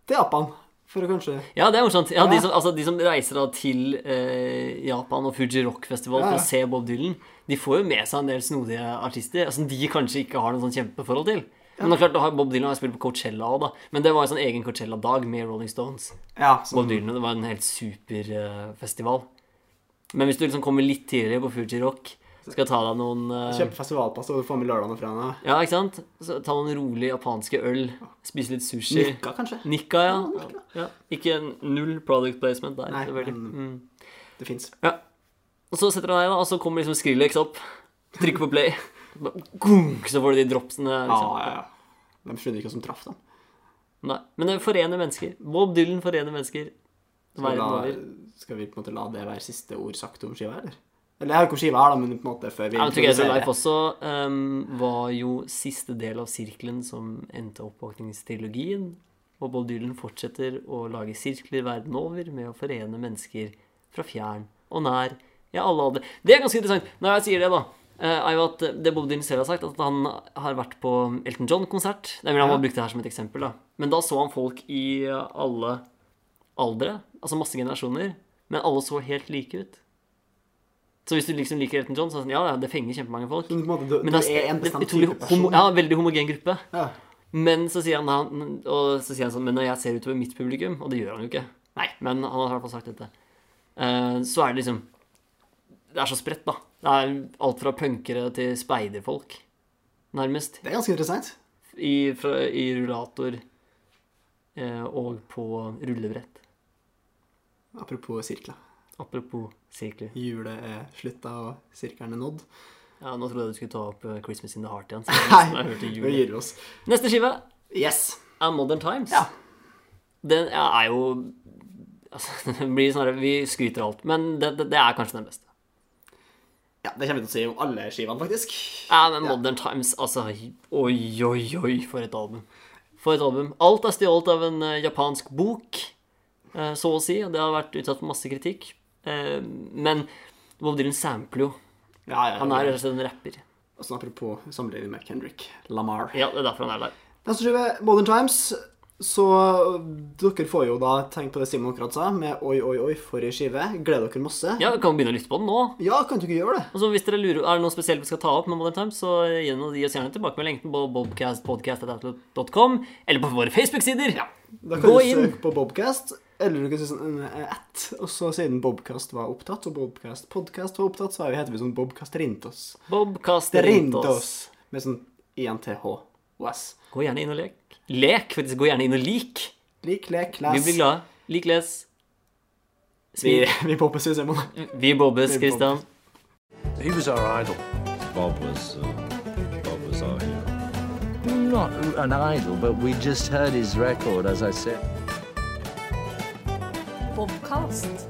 til Japan. For å kanskje Ja, det er morsomt. Ja, de, Ja. som, altså, de som reiser da til eh, Japan og Fuji Rock Festival Ja, for ja. å se Bob Dylan, de får jo med seg en del snodige artister eh, som de kanskje ikke har noe sånn kjempeforhold til. Men det er klart, da har Bob Dylan har spilt på Coachella også, da. Men det var en sånn egen Coachella-dag med Rolling Stones. Ja, som, Bob Dylan, det var en helt super eh, festival. Men hvis du liksom kommer litt tidligere på Fuji Rock, skal ta deg noen eh, kjøpe festivalpass og du får med lørdagen og fredagen. Ja, ikke sant? Så ta noen rolig japanske øl, spise litt sushi. Nikka, kanskje. Nikka, ja. ja. Ikke null product placement der. Nei, selvfølgelig. men- Det fins. Ja. Mm. Og så setter han deg, da, og så kommer liksom Skrillex opp. Trykker på play. Bare gunk, Så får du de dropsene. Ja, Liksom. ja, ja. De skjønner ikke hva som traff dem. Nei. Men det forener mennesker. Bob Dylan forener mennesker. Skal vi, Verden over. la, skal vi på en måte la det være siste ord sagt om skiva, eller? Eller jeg har ikke om skiva her, da, men på en måte før vi Ja, men Together introduserer- Life også ehm, var jo siste del av sirkelen som endte oppvåkningstrilogien. Og Bob Dylan fortsetter å lage sirkler verden over med å forene mennesker fra fjern og nær. Ja, alle hadde Det er ganske interessant. Når jeg sier det, da, eh, er jo at det Bob Dylan selv har sagt, at han har vært på Elton John-konsert. Det vil han bare bruke det her som et eksempel, da. Men da så han folk i alle aldre, altså masse generasjoner, men alle så helt like ut. Så hvis du liksom liker Elton John, så er det sånn, ja, ja, det fenger kjempemange folk. Men på en måte, du, Men altså, du det er, er en det er bestemt utrolig type homo, person. ja, veldig homogen gruppe. Ja. Men så sier han, da, og så sier han sånn, men når jeg ser utover mitt publikum, og det gjør han jo ikke, nei, men han har i hvert fall sagt dette, eh, så er det liksom, det er så spredt da. Det er alt fra punkere til speiderfolk, nærmest, Det er ganske interessant. i, fra, i rullator eh, og på rullebrett. Apropos sirkler. Apropos sirkler. Hjulet er slutta, og sirkelen er nådd. Ja, nå trodde jeg du skulle ta opp eh, Christmas in the Heart igjen. så jeg Nei, hørte vi jul. gir oss. Neste skive Yes. er Modern Times. Ja. Den er jo altså, det blir sånn her, Vi skryter av alt, men det, det, det er kanskje den beste. Ja, Det kommer vi til å si om alle skivene, faktisk. Ja, men Modern Times, altså Oi, oi, oi, for et album. For et album. Alt er stjålet av en eh, japansk bok, eh, så å si. og Det har vært utsatt for masse kritikk. Eh, men Bob Dylan sampler jo. Ja, ja, Han er ja. rett og slett en rapper. Og sånn apropos sammenligning med Kendrick Lamar. Ja, det er derfor han er der. Neste skive, Modern Times. Så dere får jo da tenke på det Simon akkurat sa, med oi, oi, oi, for ei skive. Gleder dere masse. Ja, kan vi begynne å lytte på den nå? Ja, kan du ikke gjøre det? Og så hvis dere lurer, Er det noe spesielt vi skal ta opp med Modern Times, så gi oss gi oss gjerne tilbakemelding enten på bobcastpodcast.com eller på våre Facebook-sider. Da kan Gå du inn. søke på Bobcast, eller du kan si sånn eh, at, og så siden Bobcast var opptatt, og Bobcast podcast var opptatt, så er vi- heter vi sånn Bobcast Rintos. Bobcast Rintos. Rintos. Med sånn INTH-OS. Gå gjerne inn og lek. Lek, faktisk. Gå gjerne inn og lik. Lik, lek, Vi les. blir glade. Lik, les. Vi, Smil. vi poppes, vi, Simon. Vi bobbes, Vi bobbes. Christian. He was our idol. Bob was uh, Bob was our hero. Not an idol, but we just heard his record, as I said. Bobcast.